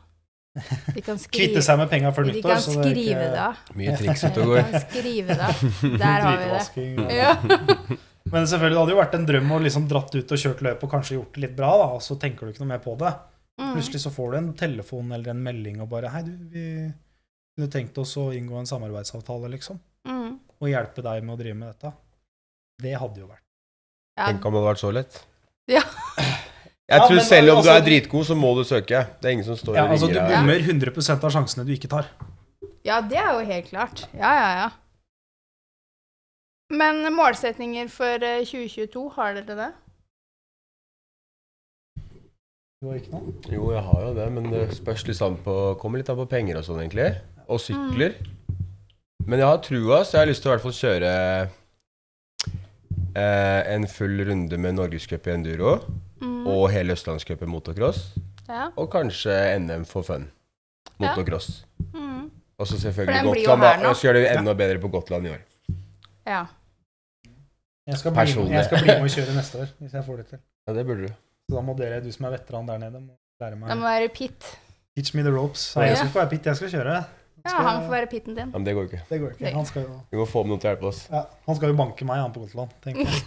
<laughs>
De kan skrive,
Kvitte seg med penga før
de
nyttår.
kan skrive det av.
Mye triks
De
ute og går.
kan
<laughs>
skrive det av. Der har vi det.
Hvitvasking.
Ja.
Men selvfølgelig, det hadde jo vært en drøm å liksom dratt ut og kjørt løp og kanskje gjort det litt bra, da, og så tenker du ikke noe mer på det.
Mm.
Plutselig så får du en telefon eller en melding og bare 'Hei, du, vi kunne tenkt oss å inngå en samarbeidsavtale', liksom.
Mm.
og hjelpe deg med å drive med dette. Det hadde jo vært.
Ja,
Tenk om det hadde vært så lett.
Ja.
Jeg
Ja,
tror
men
selv om du er
altså-
dritgod, så må du søke. Det er ingen som står
Ja,
og
altså, du
ringer deg.
bommer 100 av sjansene du ikke tar.
ja, det er jo helt klart. Ja, ja, ja. Men målsetninger for eh, 2022, har dere det?
Du har ikke noe?
Jo, jeg har jo det, men det spørs litt an på Kommer litt an på penger og sånn, egentlig. Og sykler. Men jeg har trua, så jeg har lyst til å i hvert fall kjøre eh, en full runde med norgescup i enduro
Mm.
og hele østlandscupen motocross.
Ja.
Og kanskje NM for fun.
Ja.
Motocross.
Mm.
Og så
For den
selvfølgelig
blir jo
Gotland.
her
da.
nå.
Og så gjør det enda bedre på Gotland i år.
ja.
Jeg skal, bli med,
Personlig.
jeg skal bli med og kjøre neste år, hvis jeg får det til.
Ja, det burde du.
Så da må dere, du som er veteran der nede, må lære
Det
meg
må være pit.
Teach me the ropes. Nei, jeg skal ikke være pitt, jeg skal kjøre.
Ja,
Skal-
han får være pitten din.
Ja, men det går jo ikke.
Det går ikke. Han skal jo,
Vi må få med noen til å hjelpe oss.
ja, han skal jo banke meg, han på Gotland. tenker
<laughs>
jeg.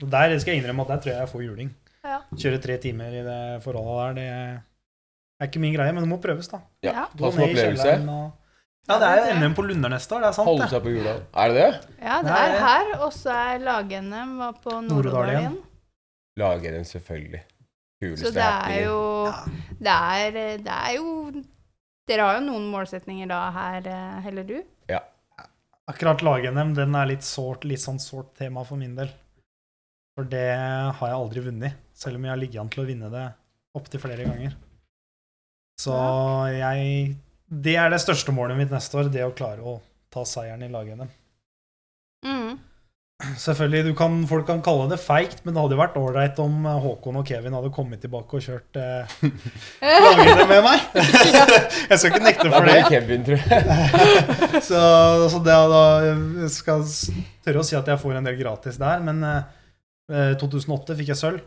Og Der skal jeg innrømme at der tror jeg jeg får juling.
Ja.
Kjøre tre timer i det forholdet der, det er ikke min greie, men det må prøves, da.
Ja.
Ja,
Gå
Ta som
ned i
opplevelse.
kjelleren og- Ja, det er jo NM på Lunder neste år, det er
Sånn,
sant,
Holde
det.
seg på hjula. Er det det?
Ja, det
Nei,
er
ja.
her, og så er lag-NM var på Nord-Odalen.
Lager en selvfølgelig. Kuleste
Så det er
happeningen.
jo det er, det er jo Dere har jo noen målsetninger da her, eh, heller du?
Akkurat lag-NM, den er litt sårt, litt sånn sårt tema for min del. For det har jeg aldri vunnet, selv om jeg har ligget an til å vinne det opptil flere ganger. Så jeg Det er det største målet mitt neste år, det å klare å ta seieren i lag-NM.
Mm.
Selvfølgelig, du kan, folk kan kalle det feigt, men det hadde jo vært ålreit om eh, Håkon og Kevin hadde kommet tilbake og kjørt eh, lag-NM med meg. <laughs> jeg skal ikke
Det
nekte
er
for det.
bare Kevin, tror jeg.
Så, så det er da, jeg skal s- tørre å si at jeg får en del gratis der, men eh, 2008 fikk jeg sølv.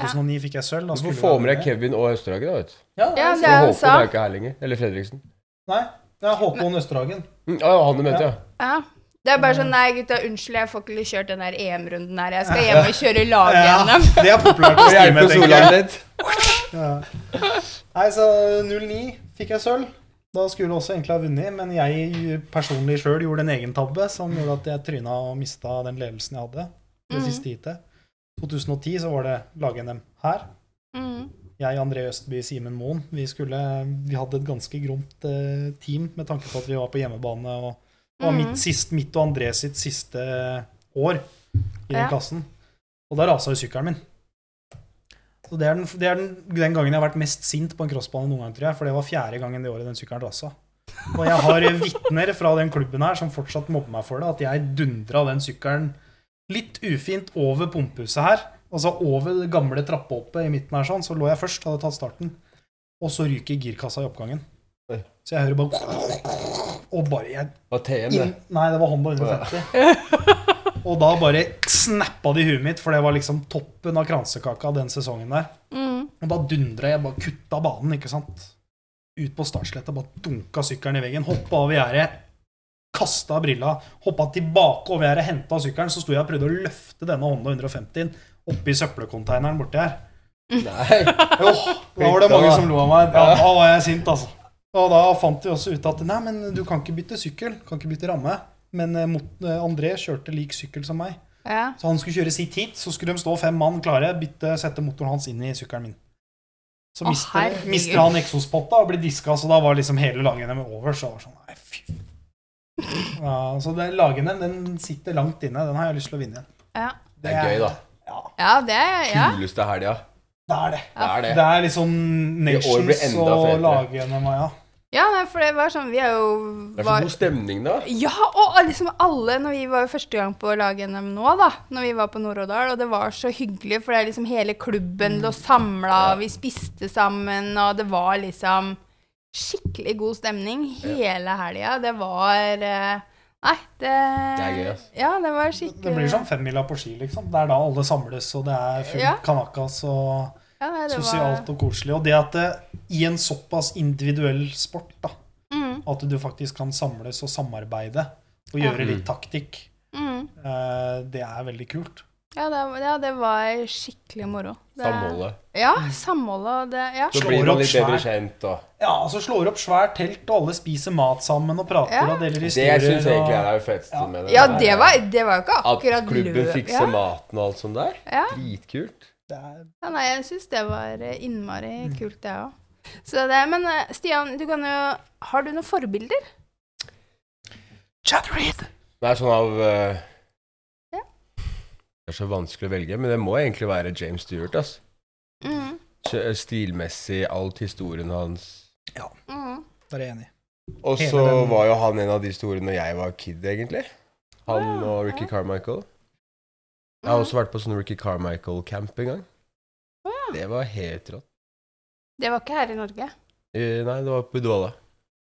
2009 fikk jeg sølv. da
Du får
skulle vi
få
være
med deg Kevin og Østerhagen. da, vet du.
Ja,
Ja,
det
Og
er jo
Håkon er
sant.
ikke her lenger. Eller Fredriksen.
Nei, det er Håkon Østerhagen.
Mm, ah, ja, han du mente, ja.
Ja. Det er bare sånn Nei, gutta, unnskyld, jeg får ikke kjørt den der EM-runden her. Jeg skal hjem og kjøre
<laughs>
lag-NM.
Ja, det er populært å
Og
skrive
hjelpe
med, tenker
Solan
jeg.
litt.
Ja. Nei, så 09 fikk jeg sølv. Da skulle jeg også egentlig ha vunnet, men jeg personlig sjøl gjorde en egen tabbe som gjorde at jeg tryna og mista den ledelsen jeg hadde det
Mhm.
siste heatet. 2010 så var det lag-NM her.
Mm.
jeg, André Østby, Simen Moen, vi, skulle, vi hadde et ganske gromt eh, team med tanke på at vi var på hjemmebane. Og det var
Mhm.
mitt, sist, mitt og André sitt siste år i den
Ja.
klassen. Og da rasa jo sykkelen min. Så det er, den, det er den, den gangen jeg har vært mest sint på en crossbane noen gang, tror jeg. For det var fjerde gangen det året den sykkelen rasa. Og jeg har vitner fra den klubben her som fortsatt mobber meg for det, at jeg dundra den sykkelen litt ufint over pumpehuset her. Altså over det gamle trappehoppet i midten her sånn, så lå jeg først, hadde tatt starten. Og så ryker girkassa i oppgangen.
Oi.
Så jeg hører bare <laughs> Og bare jeg,
Og TM, det.
inn, Nei, det var Honda 150. <laughs> Og da bare snappa det i huet mitt, for det var liksom toppen av kransekaka den sesongen der.
Mm.
Og da dundra jeg, bare kutta banen, ikke sant. Ut på startsletta, bare dunka sykkelen i veggen, hoppa over gjerdet, kasta brilla, hoppa tilbake over gjerdet, henta sykkelen, så sto jeg og prøvde å løfte denne Honda 150-en oppi søppelkonteineren borti her.
Nei.
Åh, da var det mange som lo av meg. Ja, da var jeg sint, altså. Og da fant vi også ut at nei, men du kan ikke bytte sykkel, kan ikke bytte ramme. Men eh, mot- eh, André kjørte lik sykkel som meg.
Ja.
Så han skulle kjøre sitt hit, så skulle de stå fem mann klare, bytte, sette motoren hans inn i sykkelen min. Så
Å,
mister,
herregud.
mister han eksospotta og blir diska, så da var liksom hele Lagenem over. Så jeg var sånn, nei, fy. Ja, så det, Lagenem den sitter langt inne. Den har jeg lyst til å vinne igjen.
Ja.
Det er gøy, da.
Ja,
ja, det Ja.
Kuleste helga.
det er det.
Det er det.
Det er liksom
I år blir
Nations
enda
og
fetere.
Lagenem og ja.
ja, nei, for det var sånn Vi er jo
Det er så
var,
god stemning, da.
Ja, og alle- liksom alle Når vi var jo første gang på lag-NM nå, da, når vi var på Nord-Odal, og det var så hyggelig, for det er liksom hele klubben lå samla, og vi spiste sammen, og det var liksom skikkelig god stemning hele helga. Det var eh, Nei, det Det
er gøy, ass. sånn
Ja, det var skikkelig
Det blir som femmila på ski, liksom. Det er da alle samles, og det er fullt
Ja.
kanakas og
ja, nei, det var-
sosialt og koselig. Og det at det, i en såpass individuell sport, da,
Mm,
at du faktisk kan samles og samarbeide og gjøre litt taktikk,
mm.
eh, det er veldig kult.
Ja, det, ja, det var skikkelig moro. Det-
Samholdet.
Ja, samholdet og det Ja.
Så
Slår
blir man
opp
litt bedre
svær.
kjent, og
Ja, altså slår opp svært telt, og alle spiser mat sammen og prater
Ja.
og deler
Det
historier.
syns jeg egentlig
og-
er det feteste med det.
Ja,
der.
det var, det var jo ikke akkurat
At klubben
løp-
fikser maten og alt sånt der.
Ja.
Dritkult.
Det er-
Ja, nei, jeg syns det var eh, innmari kult, det òg. Så det, men eh, Stian, du kan jo Har du noen forbilder?
Det er sånn av eh,
Ja.
Det er så vanskelig å velge, men det må egentlig være James Stewart. ass.
Mm.
Kjø- Stilmessig, alt historien hans.
Mm.
Da er jeg enig.
Og
Hele
så
den-
var jo han en av de store når jeg var kid, egentlig. Han
Ja,
og Ricky
ja.
Carmichael. Jeg har også vært på sånn Ricky Carmichael-camp en gang.
Å ja.
Det var helt rått.
Det var ikke her i Norge.
Eh, Nei, det var på Uddevalla.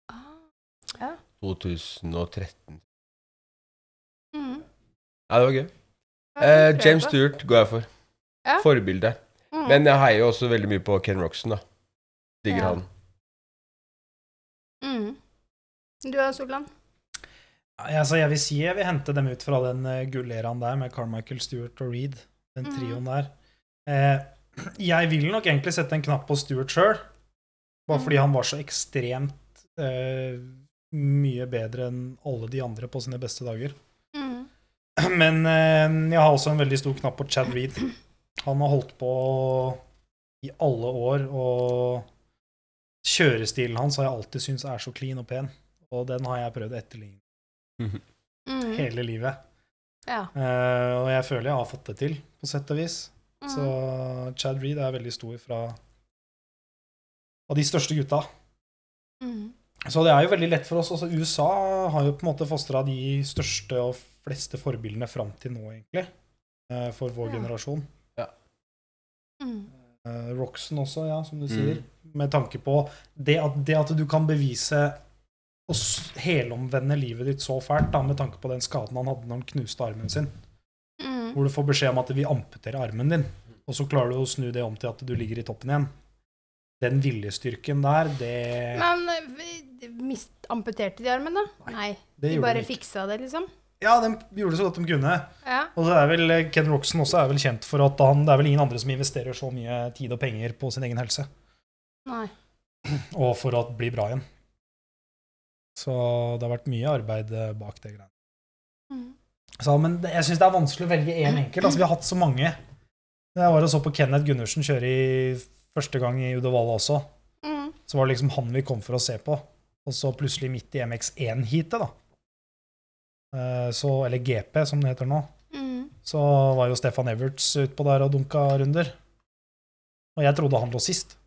Ah.
2013.
Mm.
Ja, det var gøy.
Ja,
Eh,
det tror jeg
James
på.
Stewart går jeg for.
Ja.
Forbilde.
Mm.
Men jeg heier jo også veldig mye på Ken Roxon, da. Digger
Ja.
han.
mm. Du da, Solan?
Ja, altså, jeg vil si jeg vil hente dem ut fra den eh, gulleraen der med Carmichael Stewart og Reed. Den
Mhm.
trioen der. Eh, <clears throat> jeg vil nok egentlig sette en knapp på Stewart sjøl, bare
Mhm.
fordi han var så ekstremt eh, mye bedre enn alle de andre på sine beste dager. <clears throat>
Mm.
Men eh, jeg har også en veldig stor knapp på Chad Reed. Han har holdt på i alle år, og kjørestilen hans har jeg alltid syntes er så clean og pen, og den har jeg prøvd å etterligne
Mm.
hele livet.
Ja.
Eh, og jeg føler jeg har fått det til, på sett og vis.
Mm.
Så Chad Reed er veldig stor fra av de største gutta.
Mm.
Så det er jo veldig lett for oss. Altså, USA har jo på en måte fostra de største og fleste forbildene fram til nå, egentlig. eh, for vår
Ja.
generasjon.
Mm.
Eh, Roxon også, ja, som du
Mm.
sier. Med tanke på det at, det at du kan bevise og s- helomvende livet ditt så fælt, da, med tanke på den skaden han hadde når han knuste armen sin.
Mm.
hvor du får beskjed om at vi amputerer armen din, og så klarer du å snu det om til at du ligger i toppen igjen. Den viljestyrken der, det,
Men eh, vi- mist, amputerte de armen, da?
Nei,
Nei.
det
De
gjorde
bare
de ikke.
fiksa det, liksom?
Ja, de gjorde så godt de kunne.
Ja.
Og så er vel eh, Ken Roxon også er vel kjent for at han, det er vel ingen andre som investerer så mye tid og penger på sin egen helse,
Nei.
og for å bli bra igjen. Så det har vært mye arbeid eh, bak det greiene.
Mm.
Så, men det, jeg syns det er vanskelig å velge én enkelt. Altså, vi har hatt så mange. Jeg var og så på Kenneth Gundersen kjøre i første gang i Uddevalla også.
Mm.
så var det liksom han vi kom for å se på. Og så plutselig midt i MX1-heatet, da, eh, så, eller GP som det heter nå,
Mm.
så var jo Stefan Everts utpå der og dunka runder. Og jeg trodde han lå sist.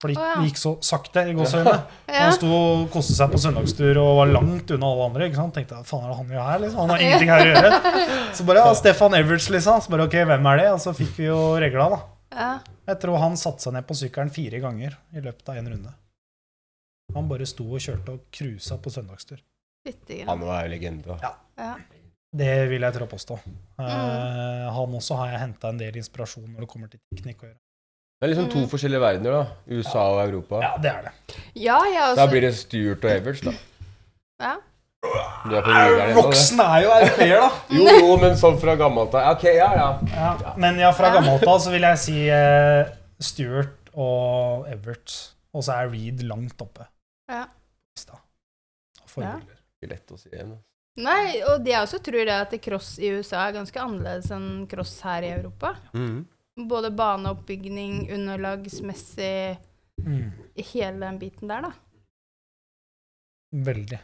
For det
Å, ja.
gikk- det gikk så sakte i gåseøynene.
<laughs> Ja.
Han sto og koste seg på søndagstur og var langt unna alle andre. ikke sant? Tenkte jeg, faen er det han gjør her, liksom? Han har ingenting her å gjøre.
<laughs>
Så bare ja, Stefan Everts, liksom. Så bare ok, hvem er det? Og så fikk vi jo regla, da.
ja.
Jeg tror han satte seg ned på sykkelen fire ganger i løpet av én runde. Han bare sto og kjørte og cruisa på søndagstur.
Fytti grann.
Han var jo legende. da.
Ja.
Det vil jeg tro å påstå. Eh,
Mm.
han også har jeg henta en del inspirasjon når det kommer til teknikk å gjøre.
Det er liksom to
Mm.
forskjellige verdener, da. USA og Europa.
Ja, det er det.
Ja, jeg
Da
også.
blir det Stewart og Everts, da.
Ja.
Du er på Nordland ennå, det.
Roxen er jo europeer, <laughs> da!
Jo, jo, men sånn fra gammelt av. Ok, ja, ja.
Ja, men ja, fra gammelt av så vil jeg si eh, Stewart og Everts. Og så er Reed langt oppe.
Ja.
Lista. av forbilder.
Ikke lett å si igjen. altså.
Nei, og de også tror det at cross i USA er ganske annerledes enn cross her i Europa.
Mm.
Både baneoppbygning, underlagsmessig,
Mm.
hele den biten der, da.
Veldig.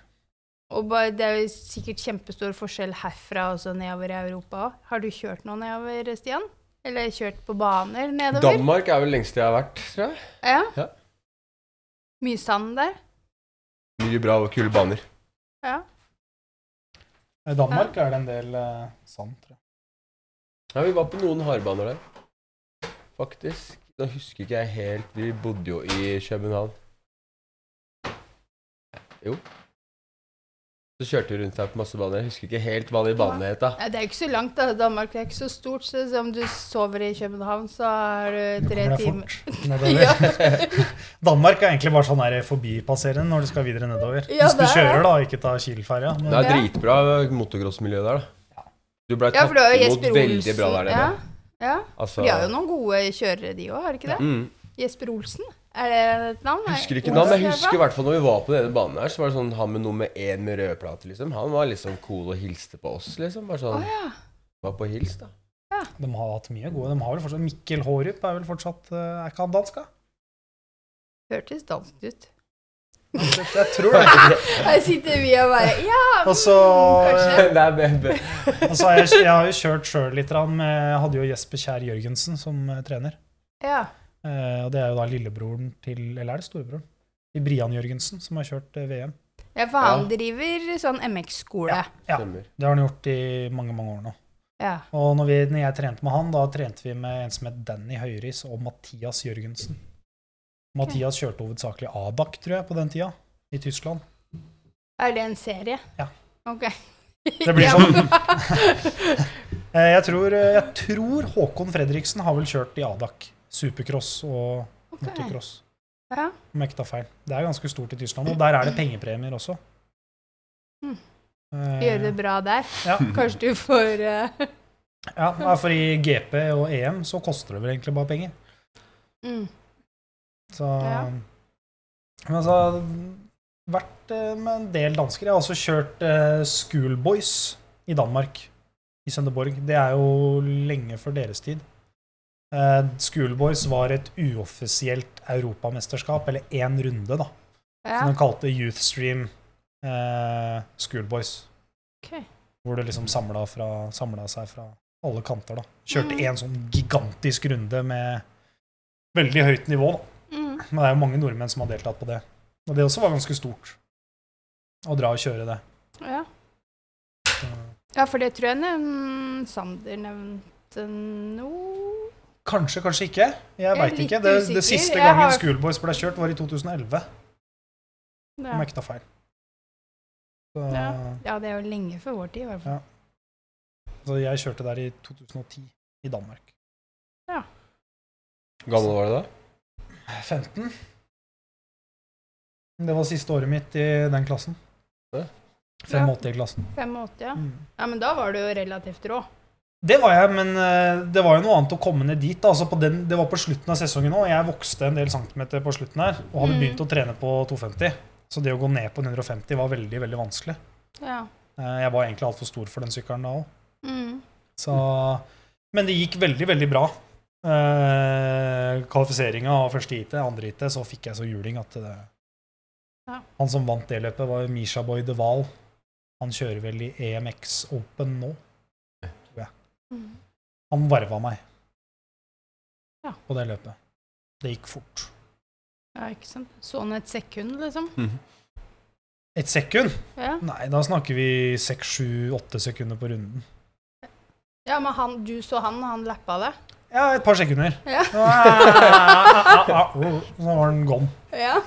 Og bare, det er jo sikkert kjempestor forskjell herfra også nedover i Europa òg. Har du kjørt noe nedover, Stian? Eller kjørt på baner nedover?
Danmark er vel lengst jeg har vært, tror jeg.
ja.
Ja.
Mye sand der?
Mye bra og kule baner.
Ja.
I Eh, Danmark er det en del eh, sand, tror jeg.
Ja, vi var på noen hardbaner der. Faktisk. Nå husker ikke jeg helt Vi bodde jo i København. Jo. Så kjørte vi rundt her på masse baner. Jeg husker ikke helt hva de banene het, da.
Ja, Det er jo ikke så langt, da. Danmark er ikke så stort. Så om du sover i København, så har
Du
du tre
kommer deg
timer
fort nedover. <laughs> Danmark er egentlig bare sånn der forbipasserende når du skal videre nedover.
Ja,
Hvis du
det er
kjører,
det.
da, ikke ta Kiel-ferja. men-
Det er
Ja.
dritbra motocrossmiljø der, da. Du blei
Ja,
tatt
for du har jo
imot
Jesper Olsen.
veldig bra der nede.
Ja. ja.
Altså,
For de har jo noen gode kjørere, de òg, har de ikke det?
Mm.
Jesper Olsen, er det et navn?
Jeg husker ikke
Olsen,
navn, men
i
jeg
hvert fall.
husker i hvert fall når vi var på denne banen her, så var det sånn han med nummer én med røde plater, liksom. Han var liksom cool og hilste på oss, liksom. Bare
Å
sånn
ja.
<laughs> Var på hils, da.
De har hatt mye gode. De har vel fortsatt Mikkel Hårup er vel fortsatt eh, Er ikke han dansk, da?
Hørtes dansk ut.
Jeg tror det.
Her sitter vi og bare Ja,
Og så
kanskje.
Det er be- be-
og så har jeg, jeg har jo kjørt sjøl litt. grann med- Jeg hadde jo Jesper Kjær Jørgensen som eh, trener.
Ja.
Eh, og det er jo da lillebroren til Eller er det storebroren? Til Brian Jørgensen, som har kjørt eh, VM.
ja, for han driver sånn MX-skole.
Ja.
Stemmer.
Det har han gjort i mange, mange år nå.
Ja.
Og når, vi, når jeg trente med han, da trente vi med en som het Danny Høyris og Mathias Jørgensen. Mathias kjørte hovedsakelig Adak, tror jeg, på den tida, i Tyskland.
Er det en serie?
Ja.
Ok. <laughs>
Det blir sånn. Eh, Jeg tror, eh, jeg tror Håkon Fredriksen har vel kjørt i Adak. Supercross og
Ok.
motocross.
Ja.
Om jeg ikke tar feil. Det er ganske stort i Tyskland, og der er det pengepremier også.
Mm.
Eh,
Gjør det bra der.
Ja.
Kanskje du får eh,
Ja, nei, for i GP og EM så koster det vel egentlig bare penger.
mm.
Så,
Ja.
Men så har jeg vært eh, med en del dansker. Jeg har også kjørt eh, Schoolboys i Danmark, i Sønderborg. Det er jo lenge før deres tid. Eh, Schoolboys var et uoffisielt europamesterskap, eller én runde, da,
Ja.
som de kalte Youthstream eh, Schoolboys.
Ok.
Hvor det liksom samla, fra, samla seg fra alle kanter, da. Kjørte
Mm.
en sånn gigantisk runde med veldig høyt nivå, da.
Mm.
Men det er jo mange nordmenn som har deltatt på det. Og det også var ganske stort. Å dra og kjøre det.
ja.
Så,
Ja, for det tror jeg nevn- Sander nevnte nå.
Kanskje, kanskje ikke. Jeg
Jeg er
veit
litt
ikke. Det,
usikker.
det siste
Jeg
gangen
har-
Schoolboys ble kjørt, var i 2011. Om
Ja.
jeg ikke tar feil. Så,
ja, det er jo lenge før vår tid, i hvert fall.
så jeg kjørte der i 2010 i Danmark.
Gammel var du da? <laughs>
15. Det var siste året mitt i den klassen.
Ja.
85-klassen.
85, ja.
Mm.
Ja, men da var du jo relativt rå.
Det var jeg, men eh, det var jo noe annet å komme ned dit. da. Altså på den, det var på slutten av sesongen òg. Jeg vokste en del centimeter på slutten her, og hadde
Mm.
begynt å trene på 250. Så det å gå ned på 150 var veldig veldig vanskelig.
Ja.
Eh, Jeg var egentlig altfor stor for den sykkelen da òg.
Mm.
Så, men det gikk veldig, veldig bra. Eh, Kvalifiseringa av første heatet, andre heatet, så fikk jeg så juling at det
Ja.
Han som vant det løpet, var Misha Boy De Waal. Han kjører vel i EMX Open nå.
Mm.
Han varva meg
Ja.
på det løpet. Det gikk fort.
Ja, ikke sant. Sånn et sekund, liksom.
Mm.
Et sekund?
Ja,
Nei, da snakker vi seks, sju, åtte sekunder på runden.
ja men han, du så han, og han lappa det.
Ja, et par sekunder. Ah,
Ja.
Så var den gone.
Ja.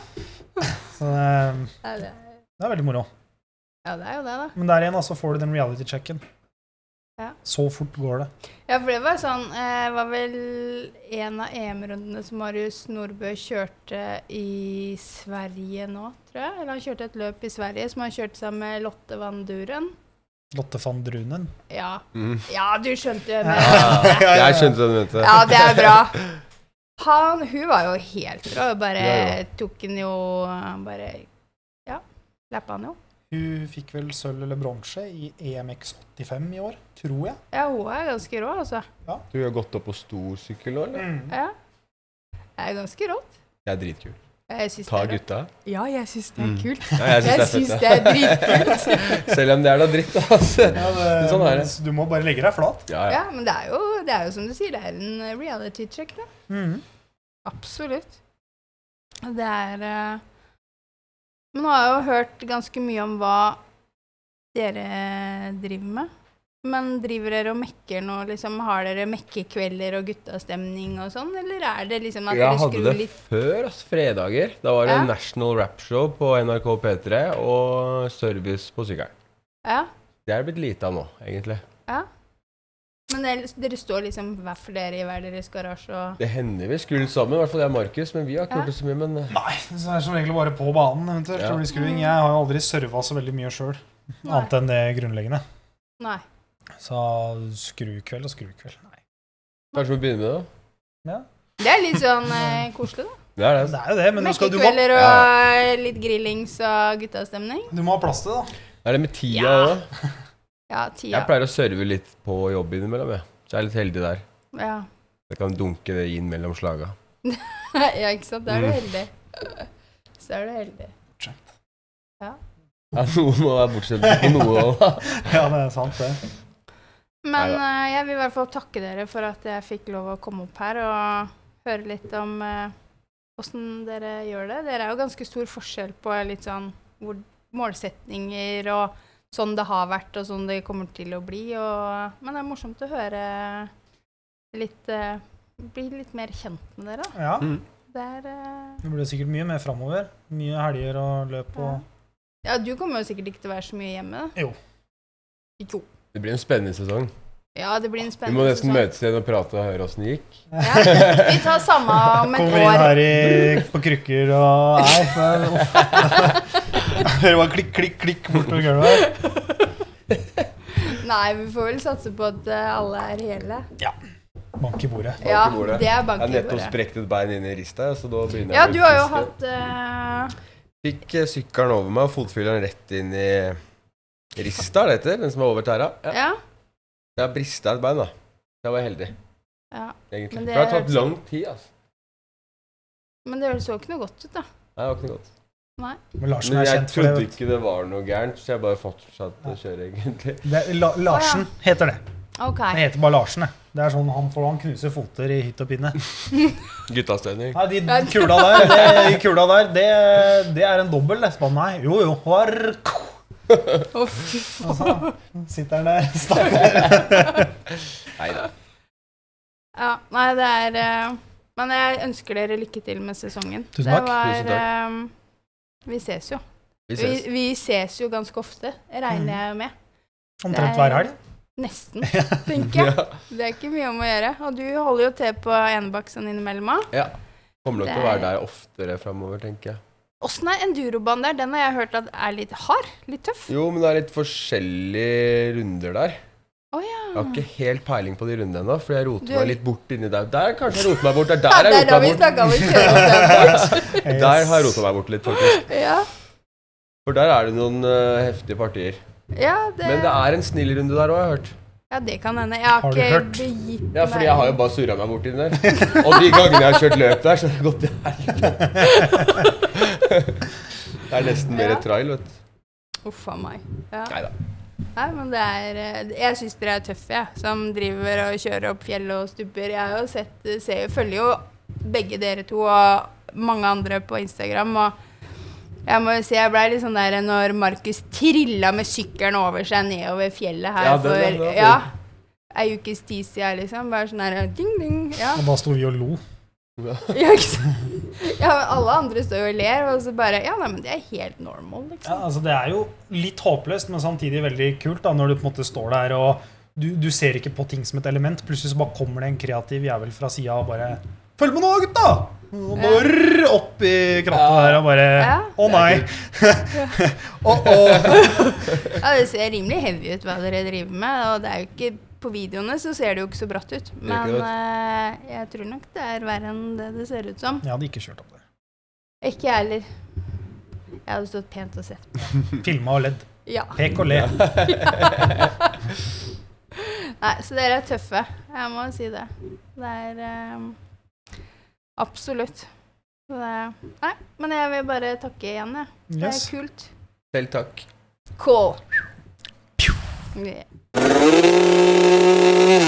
Så det,
Ja, det,
det er veldig moro.
ja, det er jo det, da.
Men der igjen, da, så får du den reality-checken.
Ja.
Så fort går det.
Ja, for det var sånn eh, var vel en av EM-rundene som Marius Nordbø kjørte i Sverige nå, tror jeg. Eller han kjørte et løp i Sverige som han kjørte sammen med Lotte Van Duren.
Lotte van Drunen.
Ja.
Mm. <laughs>
Ja, du skjønte jo
Ja.
det.
Jeg skjønte hva du mente.
Ja, det er bra. han, hun var jo helt rå. Bare
Ja, ja.
tok han jo Bare Ja. Lappa han jo.
Hun fikk vel sølv eller bronse i E EMX85 i år, tror jeg.
Ja, hun er ganske rå, altså.
Du har gått opp på stor sykkel nå, eller?
Mm.
Ja. Det er ganske rått.
Det er dritkult.
Jeg syns
Ta
det er rått.
gutta.
Ja, jeg syns det er
Mm.
kult.
Ja, jeg
Jeg
syns det
syns
er fett.
det er dritkult.
ja. <laughs> Selv om det er da dritt, da. Altså.
Ja, det,
Sånn er det.
men Du må bare legge deg flat.
Ja, ja.
Ja, men det er, jo, det er jo som du sier, det er en eh, reality check, da. Absolutt. Det er eh, Men nå har jeg jo hørt ganske mye om hva dere driver med. Men driver dere og mekker nå, liksom? Har dere mekkekvelder og guttastemning og sånn, eller er det liksom at
Jeg
dere
hadde det
skrur litt
før, ass. Fredager. Da var det
Ja.
National Rap Show på NRK P3 og service på sykkelen.
Ja.
Det er det blitt lite av nå, egentlig.
Men dere, dere står liksom hver for dere i hver deres garasje og
Det hender vi skrur sammen, i hvert fall jeg og Markus, men vi har ikke
Ja.
gjort det så mye. Men eh,
Nei, så er det som regel bare på banen eventuelt.
Ja.
når det blir skruing. Jeg har jo aldri serva så veldig mye sjøl,
Nei.
annet enn det grunnleggende.
Nei.
Så skrukveld og skrukveld. Nei.
kanskje vi begynner med det? da?
Det er litt sånn eh, koselig, da.
Det er
Det
det.
er jo det, men du, skal, du, må,
Mekkekvelder og
Ja.
eh, litt grillings og guttastemning.
du må ha plass til det, da.
Det er det med tida
Ja.
òg.
Ja,
Jeg
tida.
pleier å serve litt på jobb innimellom, jeg. Så jeg er litt heldig der.
Ja. <laughs>
Jeg kan dunke det inn mellom slaga.
ja, ikke sant? Da er du
Mm.
heldig. Så er du heldig.
Ja, noen må være bortskjemt i noe òg, da.
Ja, det er sant, det.
Men eh, jeg vil i hvert fall takke dere for at jeg fikk lov å komme opp her og høre litt om åssen dere gjør det. Dere er jo ganske stor forskjell på litt sånn hvor målsetninger og sånn det har vært, og sånn det kommer til å bli. Og, eh, men det er morsomt å høre litt eh, Bli litt mer kjent med dere, da.
Ja.
Mm.
Det er eh,
Det blir sikkert mye mer framover. Mye helger og løp og
Ja, du kommer jo sikkert ikke til å være så mye hjemme. da.
Jo.
Jo.
Det blir en spennende sesong.
Ja, det blir en
Vi
spennende
må nesten
sesong.
møtes igjen og prate og høre åssen det gikk.
Ja, vi
<laughs>
tar samme om et
Kommer inn
år.
her i, på krykker og Nei, men uff. Hører bare klikk, klikk, klikk bortover gulvet.
Nei, vi får vel satse på at eh, alle er hele.
Bank i bordet.
Ja,
i bordet.
det er
Jeg har
bank i
nettopp
bordet.
sprukket et bein inn i rista, så da begynner
Ja,
jeg å
du
bli
har jo
frisk.
hatt eh,
Fikk eh, sykkelen over meg og fotfylleren rett inn i rista, er det heter? Den som er over tæra. Ja.
Ja.
Jeg har brista et bein, da. Jeg var heldig,
ja.
egentlig.
Men
For
det
det har
er-
tatt lang tid, altså.
Men det så ikke noe godt ut, da.
Nei, det var ikke noe godt.
Men Larsen
Men
er
jeg
kjent for det.
trodde
vet du.
ikke det var noe gærent, så jeg bare fortsatte å kjøre, egentlig.
det er La Larsen heter det.
OK.
Det heter bare Larsen, det. Det er sånn han, for han knuser foter i hytt og pinne.
Guttastønning.
Nei, de kula der, det, de kula der det, det er en dobbel, det. Så bare, Nei, jo, jo. Har,
Å, fy faen.
altså, sitter han der, stakkar.
Nei da.
Ja, nei, det er eh, Men jeg ønsker dere lykke til med sesongen.
Tusen
Det
takk.
var,
Tusen
eh, vi ses jo.
Vi
Vi,
ses.
vi ses jo ganske ofte,
Mm.
regner jeg med.
Omtrent hver helg. <laughs>
Nesten, tenker jeg. Det er ikke mye om å gjøre. Og du holder jo til på enebakk sånn innimellom òg.
Ja. Kommer nok til å
Det er-
være der oftere framover, tenker jeg.
Åssen er endurobanen der? Den har jeg hørt at er litt hard. Litt tøff.
Jo, men det er litt forskjellige runder der.
Å ja.
Jeg har ikke helt peiling på de rundene ennå, for jeg roter
Mm. Du-
meg litt bort inni der. Der kanskje jeg roter meg bort. Det er
Ja,
der
det
jeg
er
roter
da vi
meg bort.
snakka om å kjøre oss
<laughs>
<laughs> der bort.
Der har jeg rota meg bort litt, faktisk.
Ja,
For der er det noen eh, heftige partier.
ja, det,
Men det er en snill runde der òg, har jeg hørt.
ja, det kan hende. Jeg har,
Har du
ikke
hørt?
begitt
Ja, fordi jeg har jo bare surra meg borti den der. Og de gangene jeg har kjørt løp der, så har det gått til helvete. Det er nesten mer
Ja.
et trail, vet du.
Uff a meg. Ja.
Nei da.
Nei, men det er eh, Jeg syns dere er tøffe, jeg, som driver og kjører opp fjell og stubber. Jeg har jo sett, ser, jo- følger jo begge dere to og mange andre på Instagram. og jeg må jo si, jeg blei litt sånn der når Markus trilla med sykkelen over seg nedover fjellet her
Ja, den-
for
den- den-
ja, ei ukes tid siden, liksom. Bare sånn der ding, ding. Ja. <laughs>
Og da sto vi og lo.
Ja, ikke sant? Ja, men alle andre står jo og ler, og så bare Ja, nei, men det er helt normal,
Ja,
liksom.
altså Det er jo litt håpløst, men samtidig veldig kult da, når du på en måte står der og du, du ser ikke på ting som et element. Plutselig så bare kommer det en kreativ jævel fra sida og bare 'Følg med nå, gutta!' Og bare rrr, opp i kratta
Ja.
der og bare
Ja.
'Å nei'. Å, å. <laughs>
Ja, det ser rimelig heavy ut hva dere driver med, og det er jo ikke på videoene så ser det jo ikke så bratt ut. Men eh, jeg tror nok det er verre enn det det ser ut som.
Jeg hadde ikke kjørt opp der.
Ikke jeg heller. Jeg hadde stått pent og sett.
Filma og ledd.
Ja. <laughs>
Pek og le.
Nei, så dere er tøffe. Jeg må si det. Det er eh, Absolutt. Så Det er, nei, men jeg vil bare takke igjen, jeg. Det er
Yes.
kult.
Selv takk.
Cool. Yeah.